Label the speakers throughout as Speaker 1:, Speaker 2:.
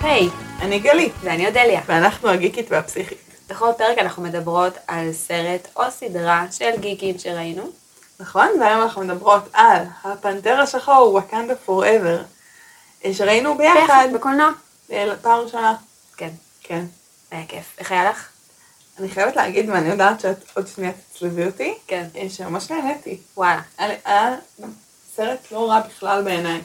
Speaker 1: היי,
Speaker 2: אני גלית,
Speaker 1: ואני אודליה.
Speaker 2: ואנחנו הגיקית והפסיכית,
Speaker 1: בכל פרק אנחנו מדברות על סרט או סדרה של גיקים שראינו.
Speaker 2: נכון? והיום אנחנו מדברות על הפנתר השחור, וואקנדה פוראבר, שראינו ביחד,
Speaker 1: בקולנוע.
Speaker 2: אה, פעם ראשונה.
Speaker 1: כן,
Speaker 2: כן.
Speaker 1: היה כיף. איך היה לך?
Speaker 2: אני חייבת להגיד, ואני יודעת שאת עוד שנייה תצלבי אותי,
Speaker 1: כן.
Speaker 2: אה, שממש נהניתי.
Speaker 1: וואלה.
Speaker 2: היה- היה סרט לא רע בכלל בעיניי.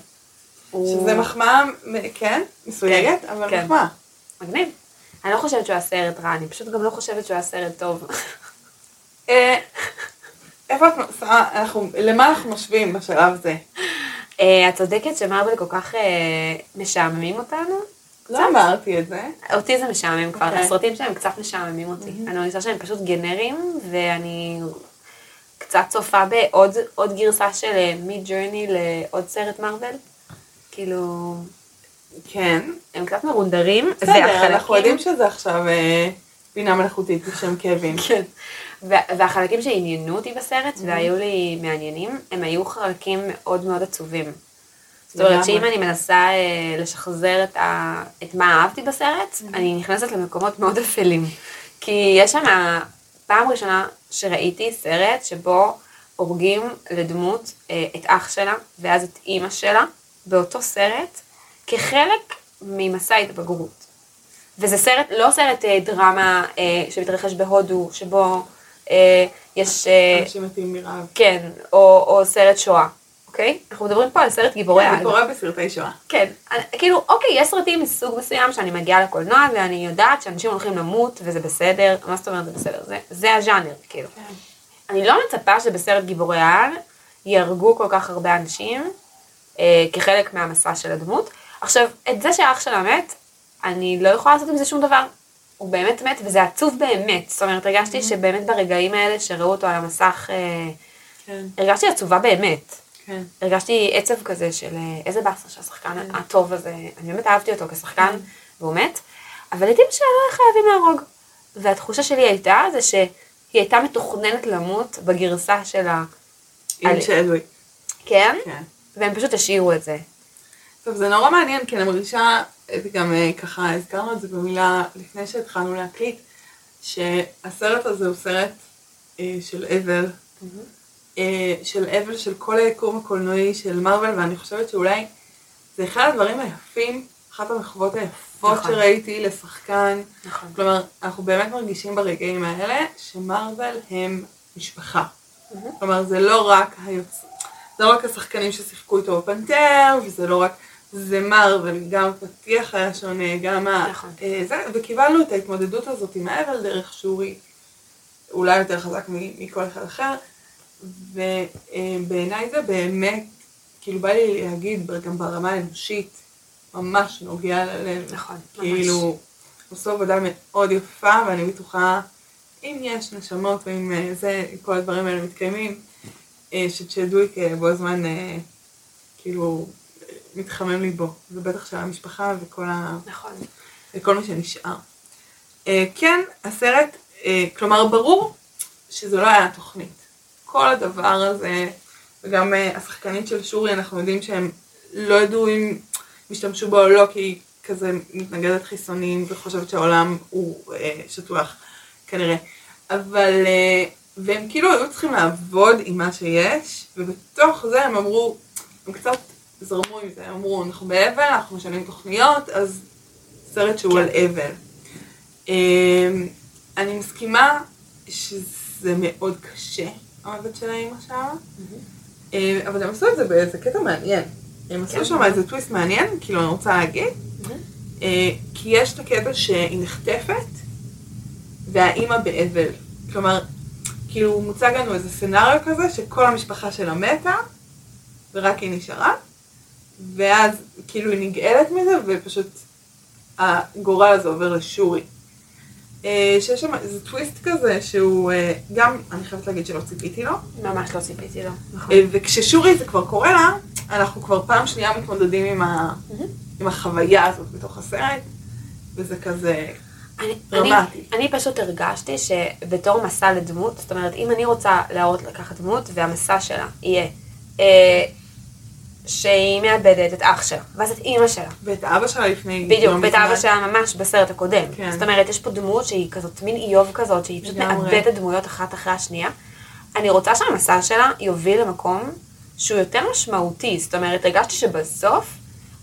Speaker 1: הוא-
Speaker 2: שזה מחמאה, מ- כן, מסויגת,
Speaker 1: כן,
Speaker 2: אבל
Speaker 1: כן.
Speaker 2: מחמאה.
Speaker 1: מגניב. אני לא חושבת שהוא היה סרט רע, אני פשוט גם לא חושבת שהוא היה סרט טוב.
Speaker 2: אה, איפה את מ- אה, אנחנו, למה אנחנו משווים בשלב הזה?
Speaker 1: אה, את צודקת שמרבל כל כך אה, משעממים אותנו.
Speaker 2: לא אמרתי את זה.
Speaker 1: אותי זה משעמם כבר,
Speaker 2: אוקיי.
Speaker 1: הסרטים שלהם קצת משעממים אותי. אני מרגישה שהם פשוט גנריים, ואני קצת צופה בעוד עוד גרסה של מיד ג'רני לעוד סרט מרוויל. כאילו,
Speaker 2: כן.
Speaker 1: הם קצת מרונדרים,
Speaker 2: בסדר, אנחנו יודעים שזה עכשיו אה, בינה מלאכותית בשם קווין.
Speaker 1: כן. וה- והחלקים שעניינו אותי בסרט והיו לי מעניינים, הם היו חלקים מאוד מאוד עצובים. זאת אומרת
Speaker 2: לגמרי.
Speaker 1: שאם אני מנסה אה, לשחזר את, ה... את מה אהבתי בסרט, אני נכנסת למקומות מאוד אפלים. כי יש שם, פעם ראשונה שראיתי סרט שבו הורגים לדמות אה, את אח שלה ואז את אימא שלה באותו סרט, כחלק ממסע התבגרות. וזה סרט, לא סרט אה, דרמה אה, שמתרחש בהודו, שבו אה, יש, אה,
Speaker 2: אנשים מתים מרעב.
Speaker 1: כן, או, או סרט שואה, אוקיי? אנחנו מדברים פה על סרט גיבורי
Speaker 2: זה
Speaker 1: על.
Speaker 2: קורה בסרטי שואה.
Speaker 1: כן, אני- כאילו, אוקיי, יש סרטים מסוג מסוים שאני מגיעה לקולנוע ואני יודעת שאנשים הולכים למות וזה בסדר, מה זאת אומרת זה בסדר? זה, זה הז'אנר, כאילו.
Speaker 2: כן,
Speaker 1: אני לא מצפה שבסרט גיבורי העל יהרגו כל כך הרבה אנשים אה, כחלק מהמסע של הדמות. עכשיו, את זה שאח שלה מת, אני לא יכולה לעשות עם זה שום דבר. הוא באמת מת, וזה עצוב באמת. זאת אומרת, הרגשתי שבאמת ברגעים האלה שראו אותו על המסך, אה,
Speaker 2: כן,
Speaker 1: הרגשתי עצובה באמת.
Speaker 2: כן.
Speaker 1: הרגשתי עצב כזה של אה, איזה באסה שהשחקן הטוב הזה, אני באמת אהבתי אותו כשחקן, והוא מת, אבל הייתי בשאלה לא חייבים להרוג. והתחושה שלי הייתה זה שהיא הייתה מתוכננת למות בגרסה שלה,
Speaker 2: עם
Speaker 1: אני-
Speaker 2: שאלוי.
Speaker 1: כן?
Speaker 2: כן.
Speaker 1: והם פשוט השאירו את זה.
Speaker 2: טוב, זה נורא מעניין, כי אני מרגישה, זה גם אה, ככה הזכרנו את זה במילה לפני שהתחלנו להקליט, שהסרט הזה הוא סרט אה, של אבל, אה, של אבל של כל היקום הקולנועי של מארוול, ואני חושבת שאולי זה אחד הדברים היפים, אחת המחוות היפות
Speaker 1: נכון.
Speaker 2: שראיתי לשחקן.
Speaker 1: נכון.
Speaker 2: כלומר, אנחנו באמת מרגישים ברגעים האלה שמרוויל הם משפחה. כלומר, זה לא רק היוצ... זה לא רק השחקנים ששיחקו איתו בפנתר, וזה לא רק... זה מרוויל, גם הפתיח היה שונה, גם ה...
Speaker 1: נכון.
Speaker 2: אה, זה, וקיבלנו את ההתמודדות הזאת עם האבל דרך שורי, אולי יותר חזק מ- מכל אחד אחר, ובעיניי זה באמת, כאילו בא לי להגיד, גם ברמה האנושית, ממש נוגע ללב.
Speaker 1: נכון, ממש.
Speaker 2: כאילו, עשו עבודה מאוד יפה, ואני בטוחה, אם יש נשמות ואם אה, זה, כל הדברים האלה מתקיימים, אה, שצ'דוויק אה, בו הזמן, אה, כאילו, אה, מתחמם ליבו, ובטח של המשפחה וכל, ה...
Speaker 1: נכון.
Speaker 2: וכל מה שנשאר. אה, כן, הסרט, אה, כלומר, ברור שזו לא היה התוכנית. כל הדבר הזה, וגם אה, השחקנית של שורי, אנחנו יודעים שהם לא ידעו אם השתמשו בו או לא, כי היא כזה מתנגדת חיסונים וחושבת שהעולם הוא אה, שטוח, כנראה. אבל, אה, והם כאילו היו צריכים לעבוד עם מה שיש, ובתוך זה הם אמרו, הם קצת זרמו עם זה, הם אמרו, אנחנו באבל, אנחנו משנים תוכניות, אז סרט שהוא על אבל. אמ, אני מסכימה שזה מאוד קשה, המוות של האמא שם, אמ, אבל הם עשו את זה באיזה קטע מעניין. הם
Speaker 1: כן.
Speaker 2: עשו שם איזה טוויסט מעניין, כאילו אני רוצה להגיד, אה, כי יש את הקטע שהיא נחטפת, והאימא באבל. כלומר, כאילו מוצג לנו איזה סצנריו כזה, שכל המשפחה שלה מתה, ורק היא נשארה, ואז כאילו היא נגאלת מזה, ופשוט הגורל הזה עובר לשורי. אה, שיש שם איזה טוויסט כזה, שהוא אה, גם, אני חייבת להגיד שלא ציפיתי לו,
Speaker 1: ממש לא ציפיתי לו. נכון.
Speaker 2: אה, וכששורי זה כבר קורה לה, אנחנו כבר פעם שנייה מתמודדים עם, ה...
Speaker 1: מהמם.
Speaker 2: עם החוויה הזאת בתוך הסרט, וזה כזה...
Speaker 1: אני,
Speaker 2: דרמטי.
Speaker 1: אני, אני פשוט הרגשתי שבתור מסע לדמות, זאת אומרת, אם אני רוצה להראות לקחת דמות, והמסע שלה יהיה אה, שהיא מאבדת את אח שלה, ואז את אימא שלה.
Speaker 2: ואת אבא שלה לפני...
Speaker 1: בדיוק,
Speaker 2: לא
Speaker 1: ואת
Speaker 2: מזמן.
Speaker 1: אבא שלה ממש בסרט הקודם.
Speaker 2: כן.
Speaker 1: זאת אומרת, יש פה דמות שהיא כזאת, מין איוב כזאת, שהיא פשוט
Speaker 2: לגמרי.
Speaker 1: מאבדת דמויות אחת אחרי השנייה. אני רוצה שהמסע שלה יוביל למקום שהוא יותר משמעותי. זאת אומרת, הרגשתי שבסוף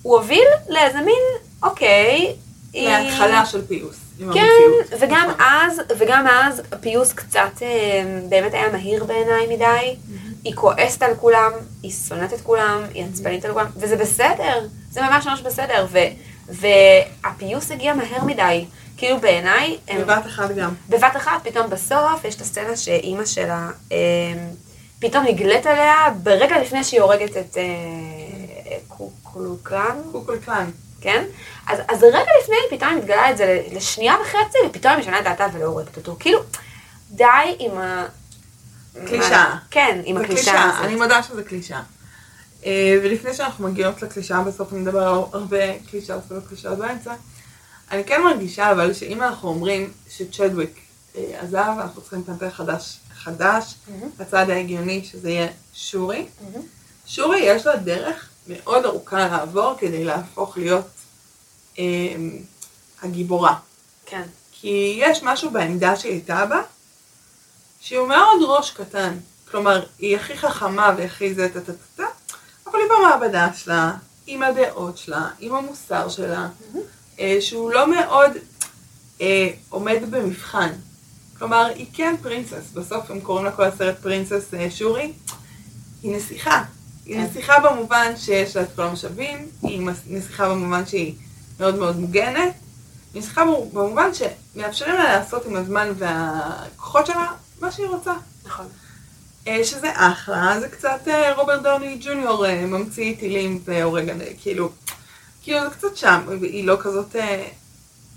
Speaker 1: הוא הוביל לאיזה מין, אוקיי, היא-
Speaker 2: להתחלה של פיוס. עם המציאות.
Speaker 1: כן, וגם
Speaker 2: נכון.
Speaker 1: אז, וגם אז הפיוס קצת אה, באמת היה מהיר בעיניי מדי. היא כועסת על כולם, היא שונאת את כולם, היא עצבנית על כולם, וזה בסדר, זה ממש ממש בסדר. ו, והפיוס הגיע מהר מדי. כאילו בעיניי, הם-
Speaker 2: בבת אחת גם.
Speaker 1: בבת אחת, פתאום בסוף, יש את הסצנה שאימא שלה אה, פתאום נגלית עליה ברגע לפני שהיא הורגת את אה, קוקלוקלן.
Speaker 2: קוקול קלן.
Speaker 1: כן? אז, אז רגע לפני היא פתאום מתגלה את זה לשנייה וחצי, ופתאום היא משנה את דעתה ולא הורגת אותו. כאילו, די עם ה...
Speaker 2: קלישאה.
Speaker 1: כן, עם
Speaker 2: זה
Speaker 1: הקלישאה הזאת.
Speaker 2: אני מודה שזה קלישאה. אה, ולפני שאנחנו מגיעות לקלישאה, בסוף נדבר על הרבה קלישאות ולא קלישאות באמצע. אני כן מרגישה אבל שאם אנחנו אומרים שצ'דוויק אה, עזב, אנחנו צריכים לטמפל חדש, חדש,
Speaker 1: מהמם.
Speaker 2: הצעד ההגיוני שזה יהיה שורי.
Speaker 1: מהמם.
Speaker 2: שורי יש לה דרך מאוד ארוכה לעבור כדי להפוך להיות אה, הגיבורה.
Speaker 1: כן,
Speaker 2: כי יש משהו בעמדה שהיא הייתה בה, שהוא מאוד ראש קטן. כלומר, היא הכי חכמה והכי זה טה טה טה טה, אבל היא במעבדה שלה, עם הדעות שלה, עם המוסר שלה, אה, שהוא לא מאוד אה, עומד במבחן. כלומר, היא כן פרינסס, בסוף הם קוראים לה כל הסרט פרינסס אה, שורי, היא נסיכה. היא
Speaker 1: כן.
Speaker 2: נסיכה במובן שיש לה את כל המשאבים, היא מס- נסיכה במובן שהיא מאוד מאוד מוגנת, היא נסיכה ב- במובן שמאפשרים לה לעשות עם הזמן והכוחות שלה מה שהיא רוצה.
Speaker 1: נכון.
Speaker 2: אה, שזה אחלה, זה קצת אה, רוברט דאוני ג'וניור אה, ממציא טילים והורג, אה, כאילו, כאילו זה קצת שם, היא לא כזאת, אה,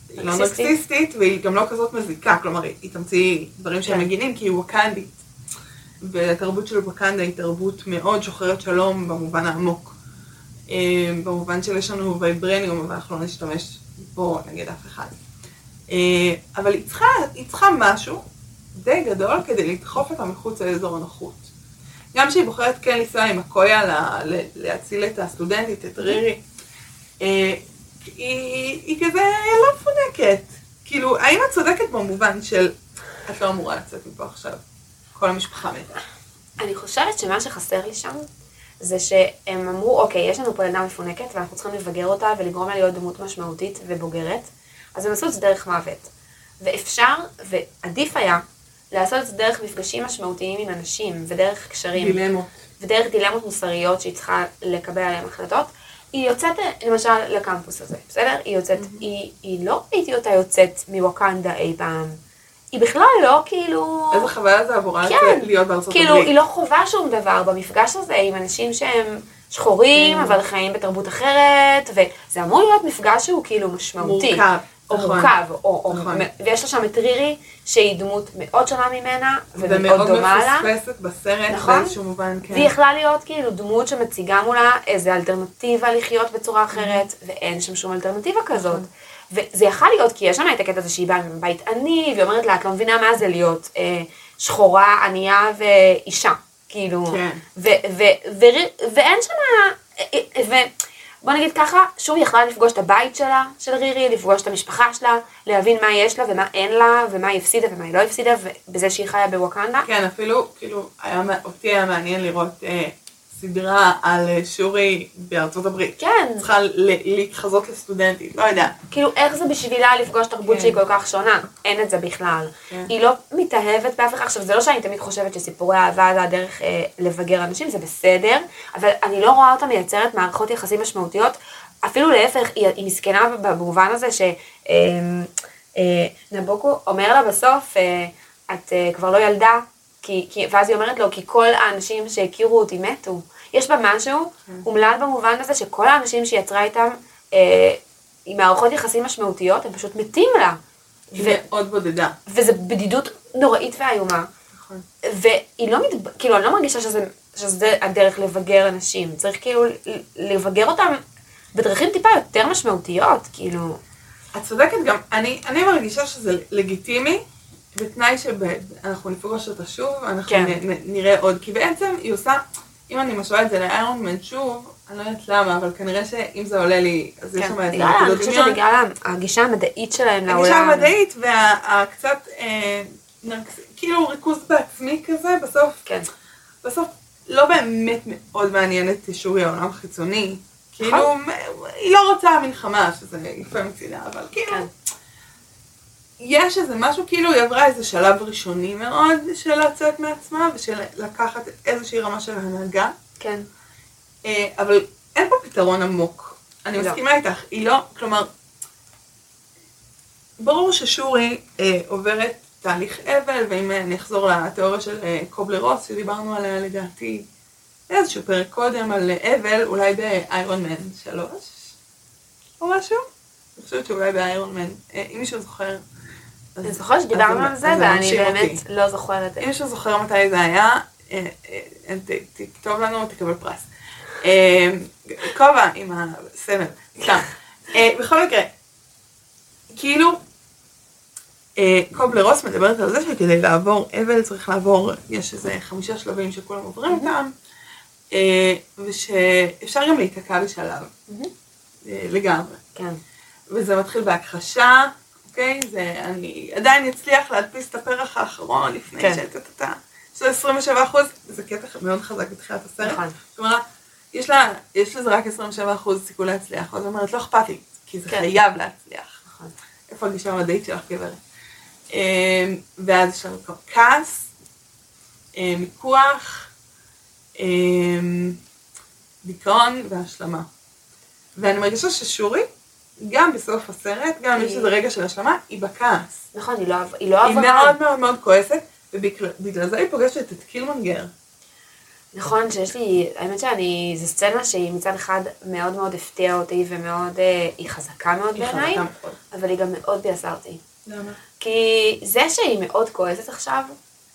Speaker 2: היא לא
Speaker 1: נרקסיסטית.
Speaker 2: נרקסיסטית, והיא גם לא כזאת מזיקה, כלומר, היא היא תמציא דברים שהם
Speaker 1: כן.
Speaker 2: מגינים, כי היא ווקנדית. והתרבות של ווקנדה היא תרבות מאוד שוחרת שלום במובן העמוק. אה, במובן של יש לנו וייברניום, אבל אנחנו לא נשתמש בו נגד אף אחד. אה, אבל היא צריכה, היא צריכה משהו די גדול כדי לדחוף אותה מחוץ לאזור הנוחות. גם כשהיא בוחרת כן לנסוע עם הקויה ל- ל- להציל את הסטודנטית, את רירי, אה, היא, היא כזה לא מפונקת. כאילו, האם את צודקת במובן של את לא אמורה לצאת מפה עכשיו? כל המשפחה מתה.
Speaker 1: אני חושבת שמה שחסר לי שם, זה שהם אמרו, אוקיי, יש לנו פה ילדה מפונקת, ואנחנו צריכים לבגר אותה ולגרום לה להיות דמות משמעותית ובוגרת, אז הם עשו את זה דרך מוות. ואפשר, ועדיף היה, לעשות את זה דרך מפגשים משמעותיים עם אנשים, ודרך קשרים.
Speaker 2: דילמות.
Speaker 1: ודרך דילמות מוסריות שהיא צריכה לקבל עליהן החלטות, היא יוצאת למשל לקמפוס הזה, בסדר? היא יוצאת, mm-hmm. היא, היא לא ראיתי אותה יוצאת מווקנדה אי פעם. היא בכלל לא כאילו...
Speaker 2: איזה חוויה זה עבורה
Speaker 1: כן.
Speaker 2: לצאת- להיות בארצות
Speaker 1: כאילו,
Speaker 2: הברית.
Speaker 1: היא לא חווה שום דבר במפגש הזה עם אנשים שהם שחורים,
Speaker 2: כן.
Speaker 1: אבל חיים בתרבות אחרת, וזה אמור להיות מפגש שהוא כאילו משמעותי.
Speaker 2: מורכב,
Speaker 1: או
Speaker 2: נכון.
Speaker 1: מורכב, או, או,
Speaker 2: נכון.
Speaker 1: ויש לה שם את רירי, שהיא דמות מאוד שונה ממנה, ומאוד
Speaker 2: ומאוד
Speaker 1: דומה לה.
Speaker 2: מפוספסת בסרט,
Speaker 1: נכון.
Speaker 2: באיזשהו מובן, כן.
Speaker 1: והיא יכלה להיות כאילו דמות שמציגה מולה איזה אלטרנטיבה לחיות בצורה אחרת, ואין שם שום אלטרנטיבה כזאת. וזה יכל להיות, כי יש שם את הקטע הזה שהיא באה מבית עני, והיא אומרת לה, את לא מבינה מה זה להיות אה, שחורה, ענייה ואישה. כאילו,
Speaker 2: כן.
Speaker 1: ו- ו- ו- ואין אה, שם, ובוא נגיד ככה, שוב היא יכלה לפגוש את הבית שלה, של רירי, לפגוש את המשפחה שלה, להבין מה יש לה ומה אין לה, ומה היא הפסידה ומה היא לא הפסידה, בזה שהיא חיה בווקנדה.
Speaker 2: כן, אפילו, כאילו, היה, מע- אותי היה מעניין לראות אה, סדרה על אה, שורי בארצות הברית.
Speaker 1: כן.
Speaker 2: צריכה ל- להתחזות לסטודנטית, לא יודע.
Speaker 1: כאילו, איך זה בשבילה לפגוש תרבות
Speaker 2: כן.
Speaker 1: שהיא כל כך שונה? אין את זה בכלל.
Speaker 2: כן.
Speaker 1: היא לא מתאהבת באף אחד. עכשיו, זה לא שאני תמיד חושבת שסיפורי אהבה זה הדרך אה, לבגר אנשים, זה בסדר, אבל אני לא רואה אותה מייצרת מערכות יחסים משמעותיות. אפילו להפך, היא, היא מסכנה במובן הזה שנבוקו אומר לה בסוף, אה, את אה, כבר לא ילדה, כי, כי, ואז היא אומרת לו, כי כל האנשים שהכירו אותי מתו. יש בה משהו
Speaker 2: כן.
Speaker 1: אומלל במובן הזה שכל האנשים שהיא יצרה איתם, אה, עם מערכות יחסים משמעותיות, הם פשוט מתים לה.
Speaker 2: היא
Speaker 1: ו-
Speaker 2: מאוד בודדה.
Speaker 1: וזו בדידות נוראית ואיומה.
Speaker 2: נכון.
Speaker 1: והיא לא מת... כאילו, אני לא מרגישה שזה, שזה הדרך לבגר אנשים. צריך כאילו ל- לבגר אותם בדרכים טיפה יותר משמעותיות, כאילו...
Speaker 2: את צודקת גם, אני, אני מרגישה שזה לגיטימי, בתנאי שאנחנו נפגוש אותה שוב, אנחנו
Speaker 1: כן.
Speaker 2: נ, נ, נראה עוד, כי בעצם היא עושה, אם אני משווה את זה לאיירון מן שוב, אני לא יודעת למה, אבל כנראה שאם זה עולה לי, אז יש שם
Speaker 1: כן.
Speaker 2: איזה
Speaker 1: יאללה, אני
Speaker 2: נקודות
Speaker 1: חושבת
Speaker 2: דמיון.
Speaker 1: שזה בגלל הגישה המדעית שלהם לעולם.
Speaker 2: הגישה המדעית והקצת אה, כאילו ריכוז בעצמי כזה, בסוף,
Speaker 1: כן.
Speaker 2: בסוף לא באמת מאוד מעניין את שורי העולם החיצוני. כאילו,
Speaker 1: נכון.
Speaker 2: היא לא רוצה מין חמה, שזה יפה מצידה, אבל כאילו,
Speaker 1: כן.
Speaker 2: יש איזה משהו, כאילו היא עברה איזה שלב ראשוני מאוד של לצאת מעצמה ושל לקחת איזושהי רמה של הנהגה,
Speaker 1: כן.
Speaker 2: אה, אבל אין פה פתרון עמוק. אני
Speaker 1: לא.
Speaker 2: מסכימה איתך, היא לא, כלומר, ברור ששורי אה, עוברת תהליך אבל, ואם אה, נחזור לתיאוריה של אה, קובלר רוס, שדיברנו עליה לדעתי איזשהו פרק קודם, על אה, אבל, אולי באיירון מן 3, או משהו? אני חושבת שאולי באיירון מן, אה, אם מישהו זוכר. אז-
Speaker 1: אני זוכרת שדיברנו
Speaker 2: אז-
Speaker 1: על זה,
Speaker 2: אז
Speaker 1: ואני
Speaker 2: מרשים אותי. אה?
Speaker 1: באמת לא זוכרת את זה.
Speaker 2: אם מישהו זוכר מתי זה היה, אה, אה, ת- תכתוב לנו ותקבל פרס. אה, כובע עם הסמל, סתם. אה, בכל מקרה, כאילו, אה, קובלרוס מדברת על זה שכדי לעבור אבל צריך לעבור, יש איזה חמישה שלבים שכולם עוברים אותם, אה, ושאפשר גם להיתקע בשלב,
Speaker 1: מהמם.
Speaker 2: אה, לגמרי.
Speaker 1: כן.
Speaker 2: וזה מתחיל בהכחשה, אוקיי? זה אני עדיין אצליח להדפיס את הפרח האחרון לפני
Speaker 1: כן.
Speaker 2: כן. שטטטה. יש לו 27 אחוז, זה קטע מאוד חזק בתחילת הסרט.
Speaker 1: נכון.
Speaker 2: כלומר, יש, לה, יש לזה רק 27 אחוז סיכוי להצליח, אז היא אומרת, לא אכפת לי, כי זה
Speaker 1: כן.
Speaker 2: חייב להצליח.
Speaker 1: נכון.
Speaker 2: איפה הגישה המדעית שלך, גברת? אה, ואז יש לנו כבר כעס, אה, מיקוח, אה, דיכאון והשלמה. ואני מרגישה ששורי, גם בסוף הסרט, גם אם יש איזה רגע של השלמה, היא בכעס.
Speaker 1: נכון, היא לא עברה. היא לא
Speaker 2: היא
Speaker 1: עברה.
Speaker 2: מאוד מאוד מאוד כועסת, ובגלל זה היא פוגשת את קילמונגר.
Speaker 1: נכון שיש לי, האמת שאני, זו סצנה שהיא מצד אחד מאוד מאוד הפתיעה אותי ומאוד, אה, היא חזקה מאוד
Speaker 2: היא
Speaker 1: בעיניי,
Speaker 2: חזקה מאוד.
Speaker 1: אבל היא גם מאוד ביאסה אותי.
Speaker 2: למה?
Speaker 1: כי זה שהיא מאוד כועסת עכשיו,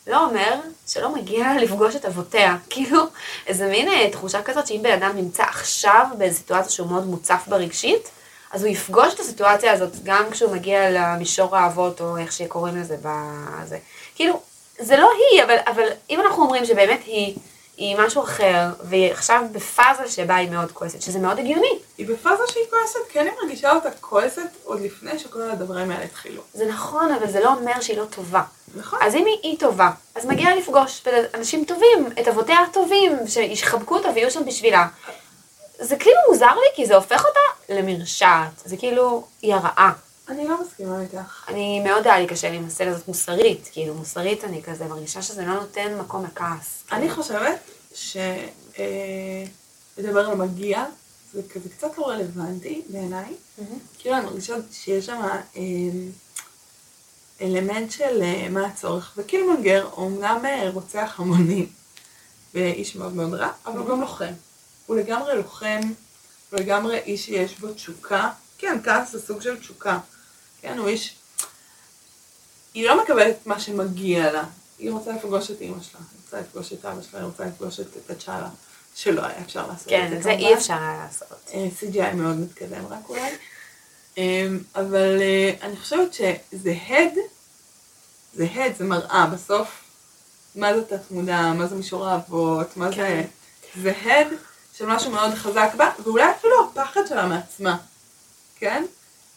Speaker 1: לא אומר שלא מגיע לה לפגוש את אבותיה. כאילו, איזה מין אה, תחושה כזאת שאם בן אדם נמצא עכשיו באיזו סיטואציה שהוא מאוד מוצף בה רגשית, אז הוא יפגוש את הסיטואציה הזאת גם כשהוא מגיע למישור האבות, או איך שקוראים לזה בזה. כאילו, זה לא היא, אבל, אבל אם אנחנו אומרים שבאמת היא, היא משהו אחר, והיא עכשיו בפאזה שבה היא מאוד כועסת, שזה מאוד הגיוני.
Speaker 2: היא בפאזה שהיא כועסת, כן היא מרגישה אותה כועסת עוד לפני שכל הדברים האלה התחילו.
Speaker 1: זה נכון, אבל זה לא אומר שהיא לא טובה.
Speaker 2: נכון.
Speaker 1: אז אם היא, היא טובה, אז מגיע לה לפגוש בן- אנשים טובים, את אבותיה הטובים, שיחבקו אותה ויהיו שם בשבילה. זה כאילו מוזר לי, כי זה הופך אותה למרשעת. זה כאילו, היא הרעה.
Speaker 2: אני לא מסכימה איתך.
Speaker 1: אני מאוד היה לי קשה לי עם הסצנה הזאת מוסרית, כאילו, מוסרית אני כזה מרגישה שזה לא נותן מקום לכעס.
Speaker 2: אני חושבת שלדבר על מגיע, זה כזה קצת לא רלוונטי בעיניי.
Speaker 1: מהמם.
Speaker 2: כאילו אני מרגישה שיש שם אמ, אלמנט של אה, מה הצורך. וקילמונגר הוא אומנם אה, רוצח המוני, ואיש מאוד מאוד רע, אבל הוא גם לוחם. הוא לגמרי לוחם, הוא לגמרי איש שיש בו תשוקה. כן, כעס זה סוג של תשוקה. כן, הוא איש... היא לא מקבלת את מה שמגיע לה. היא רוצה לפגוש את אימא שלה, היא רוצה לפגוש את אבא שלה, היא רוצה לפגוש את את שלה, שלא היה אפשר לעשות את זה.
Speaker 1: כן, את זה אי
Speaker 2: כמובן.
Speaker 1: אפשר היה לעשות.
Speaker 2: אה, CGI מאוד מתקדם רק אולי. אה, אבל אה, אני חושבת שזה הד, זה הד, זה מראה בסוף. מה זה תת-מודע, מה זה מישור האבות, מה זה...
Speaker 1: כן.
Speaker 2: זה הד של משהו מאוד חזק בה, ואולי אפילו הפחד שלה מעצמה, כן?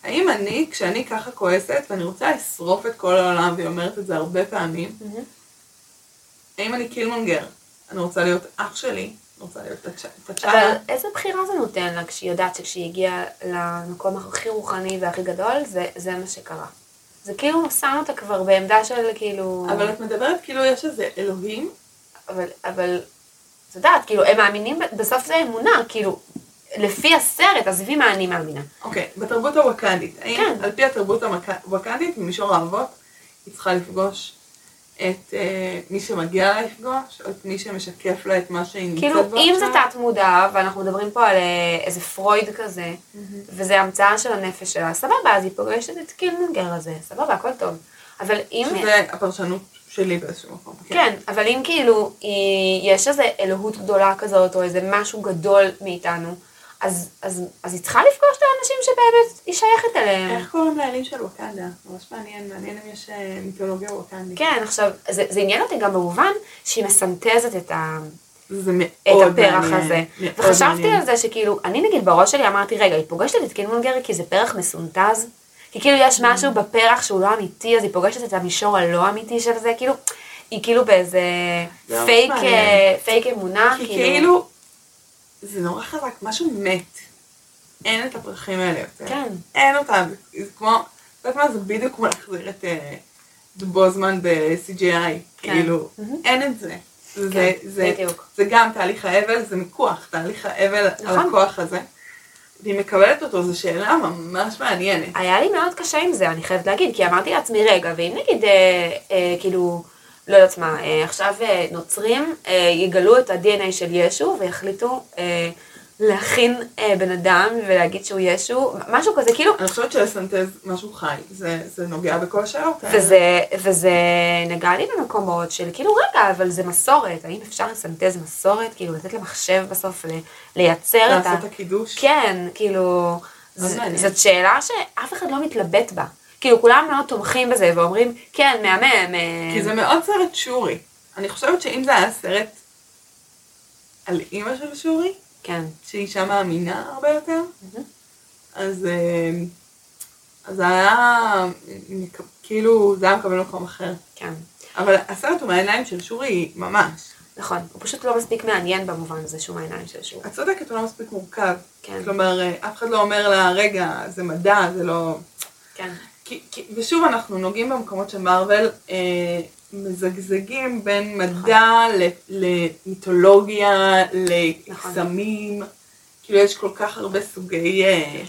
Speaker 2: האם אני, כשאני ככה כועסת, ואני רוצה לשרוף את כל העולם, והיא אומרת את זה הרבה פעמים,
Speaker 1: מהמם.
Speaker 2: האם אני קילמונגר? אני רוצה להיות אח שלי, אני רוצה להיות תת- תת-שעה.
Speaker 1: אבל איזה בחירה זה נותן לה כשהיא יודעת שכשהיא הגיעה למקום הכי רוחני והכי גדול, זה, זה מה שקרה. זה כאילו שם אותה כבר בעמדה של כאילו...
Speaker 2: אבל את מדברת כאילו יש איזה אלוהים
Speaker 1: אבל, אבל, את יודעת, כאילו, הם מאמינים, ב- בסוף זה אמונה, כאילו, לפי הסרט, עזבי מה אני מאמינה.
Speaker 2: אוקיי, בתרבות הווקנדית, האם
Speaker 1: כן.
Speaker 2: על פי התרבות המק- הווקנדית, במישור האבות, היא צריכה לפגוש את אה, מי שמגיע לה לפגוש, או את מי שמשקף לה את מה שהיא נמצאת
Speaker 1: כאילו,
Speaker 2: בו
Speaker 1: אם זה
Speaker 2: עכשיו?
Speaker 1: תת מודע, ואנחנו מדברים פה על אה, איזה פרויד כזה, וזה המצאה של הנפש שלה, סבבה, אז היא פוגשת את קילמונגר הזה, סבבה, הכל טוב. אבל אם...
Speaker 2: שזה הפרשנות שלי באיזשהו מקום.
Speaker 1: כן, אבל אם כאילו היא- יש איזה אלוהות גדולה כזאת, או איזה משהו גדול מאיתנו, אז, אז, אז היא צריכה לפגוש את האנשים שבאמת היא שייכת אליהם.
Speaker 2: איך קוראים לאלים של ווקנדה? ממש מעניין, מעניין אם יש אה, מיתולוגיה ווקנדית.
Speaker 1: כן, עכשיו, זה, זה עניין אותי גם במובן שהיא מסנטזת את, ה,
Speaker 2: זה מאוד
Speaker 1: את
Speaker 2: מעניין.
Speaker 1: הפרח הזה.
Speaker 2: מאוד
Speaker 1: וחשבתי
Speaker 2: מעניין.
Speaker 1: על זה שכאילו, אני נגיד בראש שלי אמרתי, רגע, היא פוגשת את קילמונגר כי זה פרח מסונטז? כי כאילו
Speaker 2: Mm.
Speaker 1: יש משהו בפרח שהוא לא אמיתי, אז היא פוגשת את המישור הלא אמיתי של זה, כאילו, היא כאילו באיזה
Speaker 2: זה ממש
Speaker 1: פייק,
Speaker 2: מעניין.
Speaker 1: אה, פייק אמונה,
Speaker 2: כי כאילו, זה נורא חזק, משהו מת. אין את הפרחים האלה יותר.
Speaker 1: כן.
Speaker 2: אין אותם. זה כמו, את יודעת מה, זה בדיוק כמו להחזיר את אה, את בוזמן ב-CGI. כאילו,
Speaker 1: כן. מהמם.
Speaker 2: אין את זה. זה-
Speaker 1: כן,
Speaker 2: זה-
Speaker 1: בדיוק.
Speaker 2: זה גם תהליך האבל, זה מיקוח, תהליך האבל על
Speaker 1: נכון.
Speaker 2: הכוח הזה. והיא מקבלת אותו, זו שאלה ממש מעניינת.
Speaker 1: היה לי מאוד קשה עם זה, אני חייבת להגיד, כי אמרתי לעצמי, רגע, ואם נגיד, אה, אה, כאילו, לא יודעת מה, אה, עכשיו אה, נוצרים אה, יגלו את ה-DNA של ישו ויחליטו אה, להכין אה, בן אדם ולהגיד שהוא ישו, משהו כזה, כאילו,
Speaker 2: אני חושבת שלסנטז משהו חי, זה, זה נוגע בכל השאלות אה, האלה.
Speaker 1: וזה, וזה נגע לי במקומות של כאילו, רגע, אבל זה מסורת, האם אפשר לסנטז מסורת, כאילו, לתת למחשב בסוף ל- לייצר את ה...
Speaker 2: לעשות את הקידוש.
Speaker 1: כן, כאילו,
Speaker 2: מאוד
Speaker 1: ז-
Speaker 2: מעניין.
Speaker 1: זאת שאלה שאף אחד לא מתלבט בה. כאילו, כולם מאוד תומכים בזה ואומרים, כן, מהמם. אה,
Speaker 2: כי זה מאוד סרט שורי. אני חושבת שאם זה היה סרט על אימא של שורי,
Speaker 1: כן,
Speaker 2: שהיא אישה מאמינה הרבה יותר,
Speaker 1: מהמם.
Speaker 2: אז, אה, אז היה, מק- כאילו, זה היה מקבל מקום אחר.
Speaker 1: כן,
Speaker 2: אבל הסרט הוא מהעיניים של שורי ממש.
Speaker 1: נכון. הוא פשוט לא מספיק מעניין במובן הזה, שהוא מהעיניים של שהוא.
Speaker 2: את צודקת, הוא לא מספיק מורכב.
Speaker 1: כן.
Speaker 2: כלומר, אה, אף אחד לא אומר לה, רגע, זה מדע, זה לא...
Speaker 1: כן,
Speaker 2: כי, כי, ושוב, אנחנו נוגעים במקומות שמרוויל אה, מזגזגים בין
Speaker 1: נכון.
Speaker 2: מדע ל, למיתולוגיה, לקסמים,
Speaker 1: נכון.
Speaker 2: כאילו יש כל כך הרבה סוגי אה,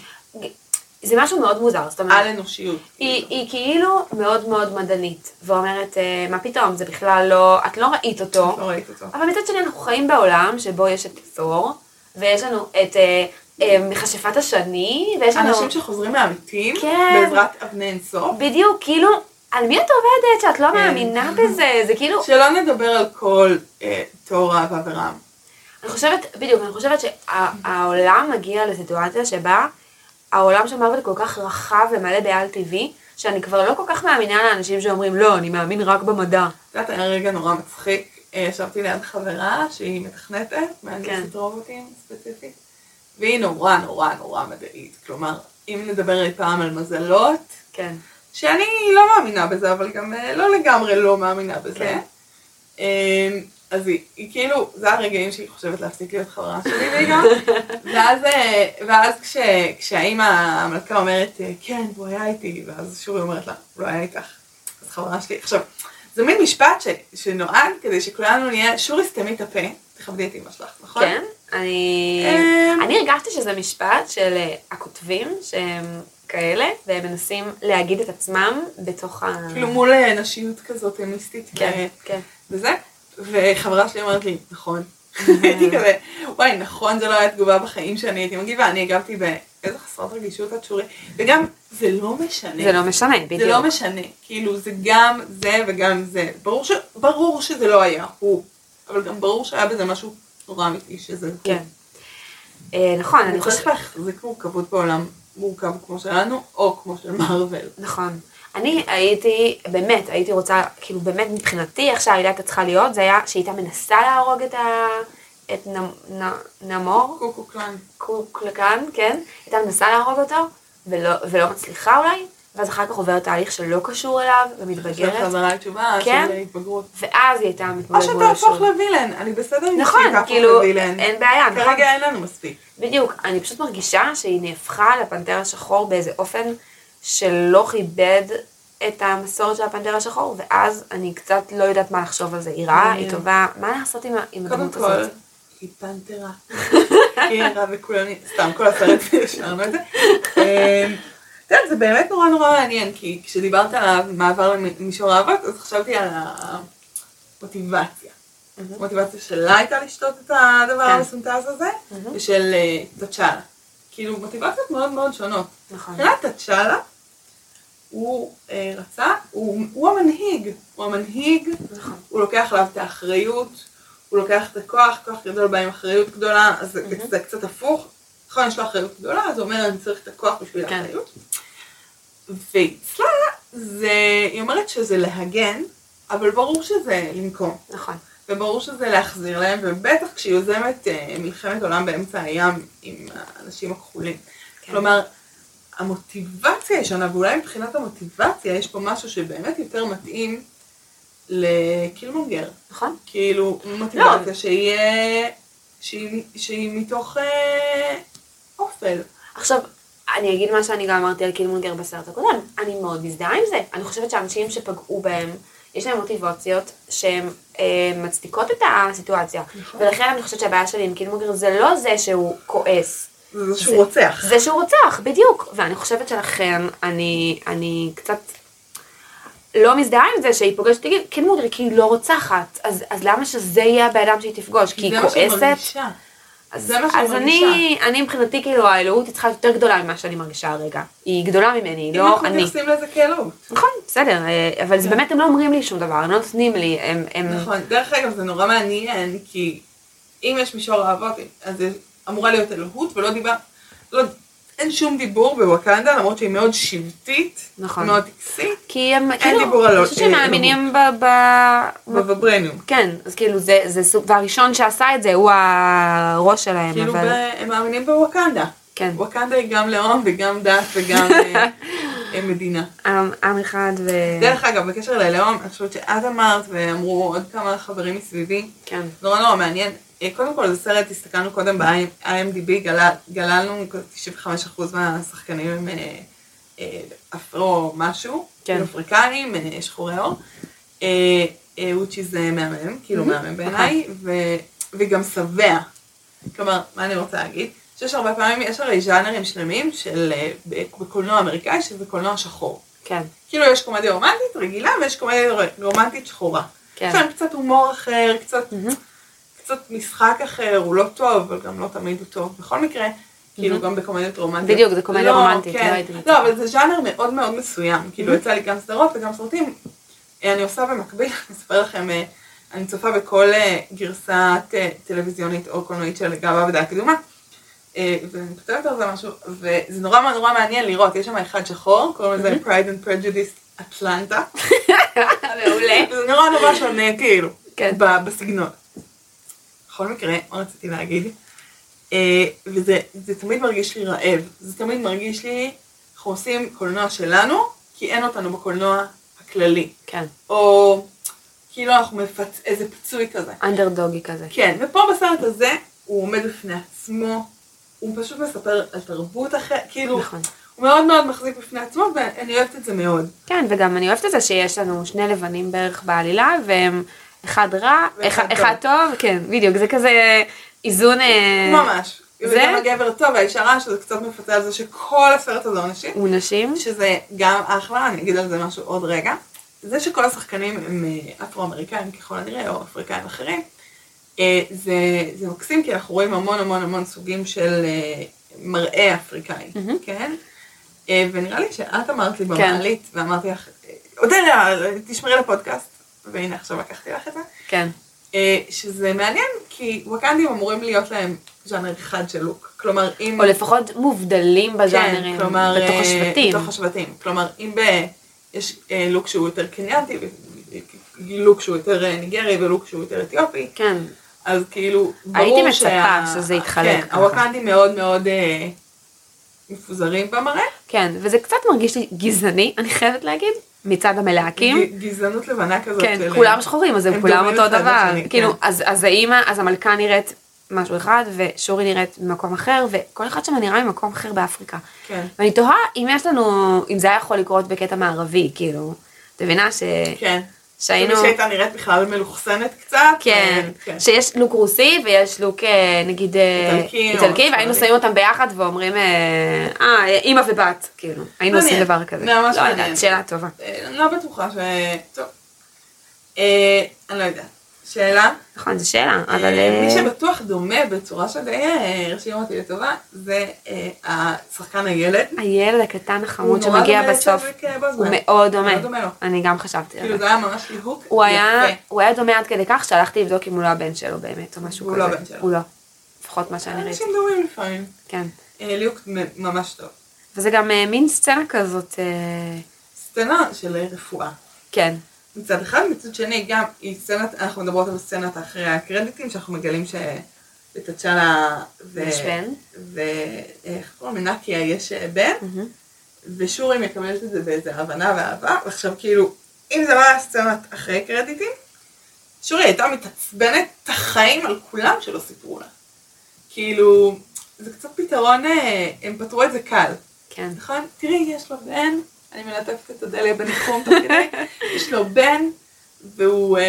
Speaker 1: זה משהו מאוד מוזר, זאת אומרת...
Speaker 2: על-אנושיות.
Speaker 1: כן. היא, היא כאילו מאוד מאוד מדענית, ואומרת, "אה, מה פתאום, זה בכלל לא, את לא ראית אותו,
Speaker 2: לא ראית אותו.
Speaker 1: אבל מצד שני אנחנו חיים בעולם שבו יש את תור, ויש לנו את אה, אה, מכשפת השני, ויש לנו...
Speaker 2: אנשים שחוזרים מהמתים,
Speaker 1: כן.
Speaker 2: בעזרת אבני אינסוף,
Speaker 1: בדיוק, כאילו, על מי את עובדת שאת
Speaker 2: כן.
Speaker 1: לא מאמינה בזה? זה כאילו,
Speaker 2: שלא נדבר על כל אה, תורה ואברהם.
Speaker 1: אני חושבת, בדיוק, אני חושבת שהעולם מגיע לסיטואציה שבה העולם של מרוויל כל כך רחב ומלא בעל טבעי, שאני כבר לא כל כך מאמינה לאנשים שאומרים, לא, אני מאמין רק במדע.
Speaker 2: את יודעת, היה רגע נורא מצחיק. אה, ישבתי ליד חברה שהיא מתכנתת, מהנדסת רובוטים ספציפית, והיא נורא נורא נורא מדעית. כלומר, אם נדבר אי פעם על מזלות,
Speaker 1: כן,
Speaker 2: שאני לא מאמינה בזה, אבל גם אה, לא לגמרי לא מאמינה בזה.
Speaker 1: כן.
Speaker 2: אה, אז היא, היא כאילו, זה הרגעים שהיא חושבת להפסיק להיות חברה שלי רגע. ואז, אה, ואז כש, כשהאימא המלכה אומרת, אה, כן, הוא היה איתי, ואז שורי אומרת לה, הוא לא היה איתך. אז חברה שלי, עכשיו, זה מין משפט ש, שנועד כדי שכולנו נהיה, שורי סתמי את הפה, תכבדי את אמא שלך, נכון?
Speaker 1: כן, אני...
Speaker 2: אמ.
Speaker 1: אני הרגשתי שזה משפט של אה, הכותבים שהם כאלה, והם מנסים להגיד את עצמם בתוך ה...
Speaker 2: כאילו מול אה, נשיות כזאת מיסטית. אה,
Speaker 1: כן,
Speaker 2: ו-
Speaker 1: כן.
Speaker 2: וזה, וחברה שלי אומרת לי, נכון. הייתי כזה, וואי, נכון, זה לא היה תגובה בחיים שאני הייתי מגיבה, אני הגבתי באיזה חסרת רגישות את שורי, וגם, זה לא משנה.
Speaker 1: זה לא משנה, בדיוק.
Speaker 2: זה לא משנה, כאילו, זה גם זה וגם זה. ברור, ש... ברור שזה לא היה הוא, אבל גם ברור שהיה בזה משהו נורא אמיתי שזה הוא.
Speaker 1: כן. אה, נכון, אני
Speaker 2: אני
Speaker 1: חושבת...
Speaker 2: חושבת להחזיק מורכבות בעולם מורכב כמו שלנו, או כמו של מארוול.
Speaker 1: נכון. אני הייתי, באמת, הייתי רוצה, כאילו באמת מבחינתי, איך שהעלילה הייתה צריכה להיות, זה היה שהיא הייתה מנסה להרוג את ה... את נ- נ- נמור,
Speaker 2: קוקו קלן.
Speaker 1: קוקלקן, כן? הייתה מנסה להרוג אותו, ולא, ולא מצליחה אולי, ואז אחר כך עוברת תהליך שלא קשור אליו,
Speaker 2: של
Speaker 1: ומתבגרת,
Speaker 2: חזרה לתשובה,
Speaker 1: כן.
Speaker 2: של התבגרות.
Speaker 1: ואז היא הייתה
Speaker 2: או
Speaker 1: מתמודדת
Speaker 2: שאתה
Speaker 1: מול
Speaker 2: הופך
Speaker 1: השוק.
Speaker 2: לווילן, אני בסדר עם
Speaker 1: נכון,
Speaker 2: שהיא תהפוך
Speaker 1: כאילו,
Speaker 2: לווילן.
Speaker 1: אין בעיה, נכון.
Speaker 2: כרגע אין לנו מספיק.
Speaker 1: בדיוק, אני פשוט מרגישה שהיא נהפכה לפנתר השחור באיזה אופן שלא כיבד את המסורת של הפנתר השחור, ואז אני קצת לא יודעת מה לחשוב על זה. היא רעה, היא
Speaker 2: מעניין.
Speaker 1: טובה, מה לעשות עם ה- עם
Speaker 2: אה. קודם
Speaker 1: הדמות
Speaker 2: כל,
Speaker 1: הזאת?
Speaker 2: היא פנתרה. היא ערה וכולנו, סתם, כל הסרט השארנו את זה. אמ, את יודעת, זה באמת נורא נורא מעניין, כי כשדיברת על המעבר למישור האבות, אז חשבתי על המוטיבציה. המוטיבציה שלה הייתה לשתות את הדבר
Speaker 1: כן.
Speaker 2: המסונטז הזה, ושל אה, תצ'אלה. כאילו, מוטיבציות מאוד מאוד שונות.
Speaker 1: נכון.
Speaker 2: מבחינת תצ'אלה, הוא אה, רצה, הוא, הוא המנהיג, הוא המנהיג,
Speaker 1: נכון.
Speaker 2: הוא לוקח עליו את האחריות, הוא לוקח את הכוח, כוח גדול בא עם אחריות גדולה, אז זה, זה קצת הפוך. נכון, יש לו אחריות גדולה, אז הוא אומר, אני צריך את הכוח בשביל
Speaker 1: כן.
Speaker 2: האחריות. ואצלה, זה, היא אומרת שזה להגן, אבל ברור שזה לנקום.
Speaker 1: נכון.
Speaker 2: וברור שזה להחזיר להם, ובטח כשהיא יוזמת אה, מלחמת עולם באמצע הים עם האנשים הכחולים.
Speaker 1: כן.
Speaker 2: כלומר, המוטיבציה ישנה, ואולי מבחינת המוטיבציה יש פה משהו שבאמת יותר מתאים לקילמונגר.
Speaker 1: נכון?
Speaker 2: כאילו,
Speaker 1: לא.
Speaker 2: מוטיבציה שהיא, אה, שהיא, שהיא מתוך אה, אופל.
Speaker 1: עכשיו, אני אגיד מה שאני גם אמרתי על קילמונגר בסרט הקודם, אני מאוד מזדהה עם זה. אני חושבת שאנשים שפגעו בהם, יש להם מוטיבציות שהן אה, מצדיקות את הסיטואציה.
Speaker 2: נכון.
Speaker 1: ולכן אני חושבת שהבעיה שלי עם קילמונגר זה לא זה שהוא כועס.
Speaker 2: זה זה שהוא רוצח.
Speaker 1: זה שהוא רוצח, בדיוק. ואני חושבת שלכן, אני, אני קצת לא מזדהה עם זה שהיא פוגשת אותי, קילמונגר כי היא לא רוצחת. אז, אז למה שזה יהיה הבן אדם שהיא תפגוש? כי היא
Speaker 2: זה מה שהיא
Speaker 1: כועסת?
Speaker 2: מרגישה.
Speaker 1: אז,
Speaker 2: זה מה שהיא
Speaker 1: אז אני, אני מבחינתי, כאילו, האלוהות היא צריכה להיות יותר גדולה ממה שאני מרגישה הרגע. היא גדולה ממני, היא
Speaker 2: אם
Speaker 1: לא
Speaker 2: אנחנו
Speaker 1: אני.
Speaker 2: מתייחסים לזה כאלוהות.
Speaker 1: נכון, בסדר, אה, אבל זה באמת, הם לא אומרים לי שום דבר, הם לא נותנים לי, הם... הם...
Speaker 2: כן. נכון, דרך אגב זה נורא מעניין, כי אם יש מישור אהבות, אז זה אמורה להיות אלוהות, ולא דיבר, לא, אין שום דיבור בווקנדה, למרות שהיא מאוד שבטית,
Speaker 1: נכון.
Speaker 2: מאוד טקסית,
Speaker 1: כי הם, כאילו,
Speaker 2: דיבור על
Speaker 1: אני
Speaker 2: לא-
Speaker 1: חושבת שהם
Speaker 2: אה,
Speaker 1: מאמינים ב... ב...
Speaker 2: בווברניום.
Speaker 1: כן, אז כאילו, זה, זה סוג, והראשון שעשה את זה הוא הראש שלהם,
Speaker 2: כאילו
Speaker 1: אבל...
Speaker 2: ב- הם מאמינים בווקנדה.
Speaker 1: כן.
Speaker 2: ווקנדה היא גם לאום וגם דת וגם אה, אה, מדינה.
Speaker 1: עם, עם אחד ו...
Speaker 2: דרך אגב, בקשר ללאום, אני חושבת שאת אמרת, ואמרו עוד כמה חברים מסביבי,
Speaker 1: כן.
Speaker 2: נורא נורא מעניין. אה, קודם כל, זה סרט, הסתכלנו קודם ב-IMDB, גלל, גללנו 95% מהשחקנים הם אה, אה, אפרו משהו,
Speaker 1: כן.
Speaker 2: כאילו אפריקנים, אה, שחורי עור. אה, אה, ווצ'י זה מהמם, כאילו מהמם בעיניי, ו- וגם שבע. כלומר, מה אני רוצה להגיד? שיש הרבה פעמים, יש הרי ז'אנרים שלמים של אה, בקולנוע אמריקאי, שזה קולנוע שחור.
Speaker 1: כן.
Speaker 2: כאילו יש קומדיה רומנטית רגילה ויש קומדיה רומנטית שחורה.
Speaker 1: כן.
Speaker 2: יש להם קצת הומור אחר, קצת, קצת משחק אחר, הוא לא טוב, אבל גם לא תמיד הוא טוב. בכל מקרה, כאילו גם בקומדיות רומנטיות.
Speaker 1: בדיוק, זה קומדיה
Speaker 2: לא,
Speaker 1: רומנטית, לא
Speaker 2: כן.
Speaker 1: הייתי מצפה.
Speaker 2: לא, אבל זה ז'אנר מאוד מאוד מסוים. כאילו יצא לי גם סדרות וגם סרטים. אה, אני עושה במקביל, אני אספר לכם, אה, אני צופה בכל אה, גרסת אה, טלוויזיונית או קולנועית של גאווה ודעה קדומה. אה, ואני כותבת על זה משהו, וזה נורא נורא מעניין לראות, יש שם אחד שחור, קוראים לזה Pride and Prejudice Atlanta.
Speaker 1: מעולה.
Speaker 2: זה נורא נורא שונה, כאילו,
Speaker 1: כן.
Speaker 2: ב- בסגנון. בכל מקרה, מה רציתי להגיד? אה, וזה זה תמיד מרגיש לי רעב, זה תמיד מרגיש לי, אנחנו עושים קולנוע שלנו, כי אין אותנו בקולנוע הכללי.
Speaker 1: כן.
Speaker 2: או כאילו אנחנו מפצ... איזה פצוי כזה.
Speaker 1: אנדרדוגי כזה.
Speaker 2: כן, ופה בסרט הזה, הוא עומד בפני עצמו, הוא פשוט מספר על תרבות אחרת, כאילו,
Speaker 1: נכון.
Speaker 2: הוא מאוד מאוד מחזיק בפני עצמו, ואני אוהבת את זה מאוד.
Speaker 1: כן, וגם אני אוהבת את זה שיש לנו שני לבנים בערך בעלילה, והם אחד רע,
Speaker 2: ואחד
Speaker 1: אחד-
Speaker 2: טוב.
Speaker 1: אחד טוב, כן, בדיוק, זה כזה איזון... אה,
Speaker 2: ממש.
Speaker 1: זה-
Speaker 2: וגם הגבר טוב והאישה רעה, שזה קצת מפצה על זה שכל הסרט הזה הוא נשים,
Speaker 1: הוא נשים.
Speaker 2: שזה גם אחלה, אני אגיד על זה משהו עוד רגע. זה שכל השחקנים הם אה, אפרו-אמריקאים ככל הנראה, או אפריקאים אחרים, אה, זה, זה מקסים, כי אנחנו רואים המון המון המון סוגים של אה, מראה אפריקאי, כן? אה, ונראה לי שאת אמרת לי במעלית, ואמרתי לך, אה, אודליה, תשמרי לפודקאסט, והנה עכשיו לקחתי לך את זה.
Speaker 1: כן,
Speaker 2: אה, שזה מעניין, כי ווקנדים אמורים להיות להם ז'אנר אחד של לוק. כלומר, אם...
Speaker 1: או לפחות מובדלים בז'אנרים,
Speaker 2: כן, כלומר...
Speaker 1: בתוך
Speaker 2: אה,
Speaker 1: השבטים.
Speaker 2: בתוך השבטים. כלומר, אם ב... יש אה, לוק שהוא יותר קניאנטי, ו- לוק שהוא יותר אה, ניגרי ולוק שהוא יותר אתיופי,
Speaker 1: כן,
Speaker 2: אז כאילו, ברור
Speaker 1: הייתי מצפה שזה יתחלק
Speaker 2: כן,
Speaker 1: ככה.
Speaker 2: הווקנדים מאוד מאוד אה, מפוזרים במראה.
Speaker 1: כן, וזה קצת מרגיש לי גזעני, אני חייבת להגיד, מצד המלהקים.
Speaker 2: ג- גזענות לבנה כזאת.
Speaker 1: כן,
Speaker 2: של- אה,
Speaker 1: כולם שחורים, אז הם
Speaker 2: הם
Speaker 1: כולם
Speaker 2: דומים
Speaker 1: אותו
Speaker 2: אחד
Speaker 1: דבר.
Speaker 2: לשני,
Speaker 1: כאילו,
Speaker 2: כן.
Speaker 1: אז אז האימא, אז המלכה נראית משהו אחד, ושורי נראית ממקום אחר, וכל אחד שם נראה ממקום אחר באפריקה.
Speaker 2: כן.
Speaker 1: ואני תוהה אם יש לנו, אם זה היה יכול לקרות בקטע מערבי, כאילו, את מבינה ש...
Speaker 2: כן.
Speaker 1: שהיינו...
Speaker 2: שמי שהייתה נראית בכלל מלוכסנת קצת.
Speaker 1: כן,
Speaker 2: אה, כן.
Speaker 1: שיש לוק רוסי ויש לוק אה, נגיד אה,
Speaker 2: איטלקי או
Speaker 1: איטלקי, והיינו
Speaker 2: ספרדי.
Speaker 1: שמים אותם ביחד ואומרים, אה, אה, אימא ובת, כאילו, היינו
Speaker 2: מעניין.
Speaker 1: עושים דבר כזה.
Speaker 2: ממש
Speaker 1: לא
Speaker 2: מעניין.
Speaker 1: יודעת, שאלה טובה.
Speaker 2: אה, אני לא בטוחה ש... טוב. אה, אני לא יודעת. שאלה?
Speaker 1: נכון, זו שאלה, אבל...
Speaker 2: אה, מי
Speaker 1: אה,
Speaker 2: שבטוח דומה בצורה שדי אה, הרשים אותי לטובה, זה אה, השחקן הילד.
Speaker 1: הילד הקטן החמוד
Speaker 2: הוא נורא
Speaker 1: שמגיע
Speaker 2: דומה
Speaker 1: בסוף,
Speaker 2: לצ'אדוויק, אה, בוזמן.
Speaker 1: הוא מאוד
Speaker 2: מאוד
Speaker 1: דומה.
Speaker 2: דומה לו.
Speaker 1: אני גם חשבתי על
Speaker 2: כאילו
Speaker 1: זה.
Speaker 2: זה היה ממש ליהוק יפה.
Speaker 1: הוא היה- הוא היה דומה עד כדי כך שהלכתי לבדוק אם הוא לא הבן שלו באמת, או משהו כזה.
Speaker 2: והוא לא הבן שלו. אה,
Speaker 1: הוא לא. לפחות מה שאני ראיתי.
Speaker 2: אנשים דומים לפעמים.
Speaker 1: כן.
Speaker 2: אה, ליהוק מ- ממש טוב.
Speaker 1: וזה גם אה, מין סצנה כזאת, אה,
Speaker 2: סצנה של אה, רפואה.
Speaker 1: כן.
Speaker 2: מצד אחד, מצד שני גם היא סצנת, אנחנו מדברות על סצנת אחרי הקרדיטים, שאנחנו מגלים שלטצ'אלה ו...
Speaker 1: יש בן.
Speaker 2: ואיך קוראים לנקיה יש אה, בן, ושורי מקבלת את זה באיזה הבנה ואהבה, ועכשיו כאילו, אם זה לא היה סצנת אחרי קרדיטים, שורי הייתה מתעצבנת את החיים על כולם שלא סיפרו לה. כאילו, זה קצת פתרון, אה, הם פתרו את זה קל.
Speaker 1: כן.
Speaker 2: נכון? תראי, יש לו בן, אני מלטפת את אודליה בניחום תוך כדי, יש לו בן, והוא אה,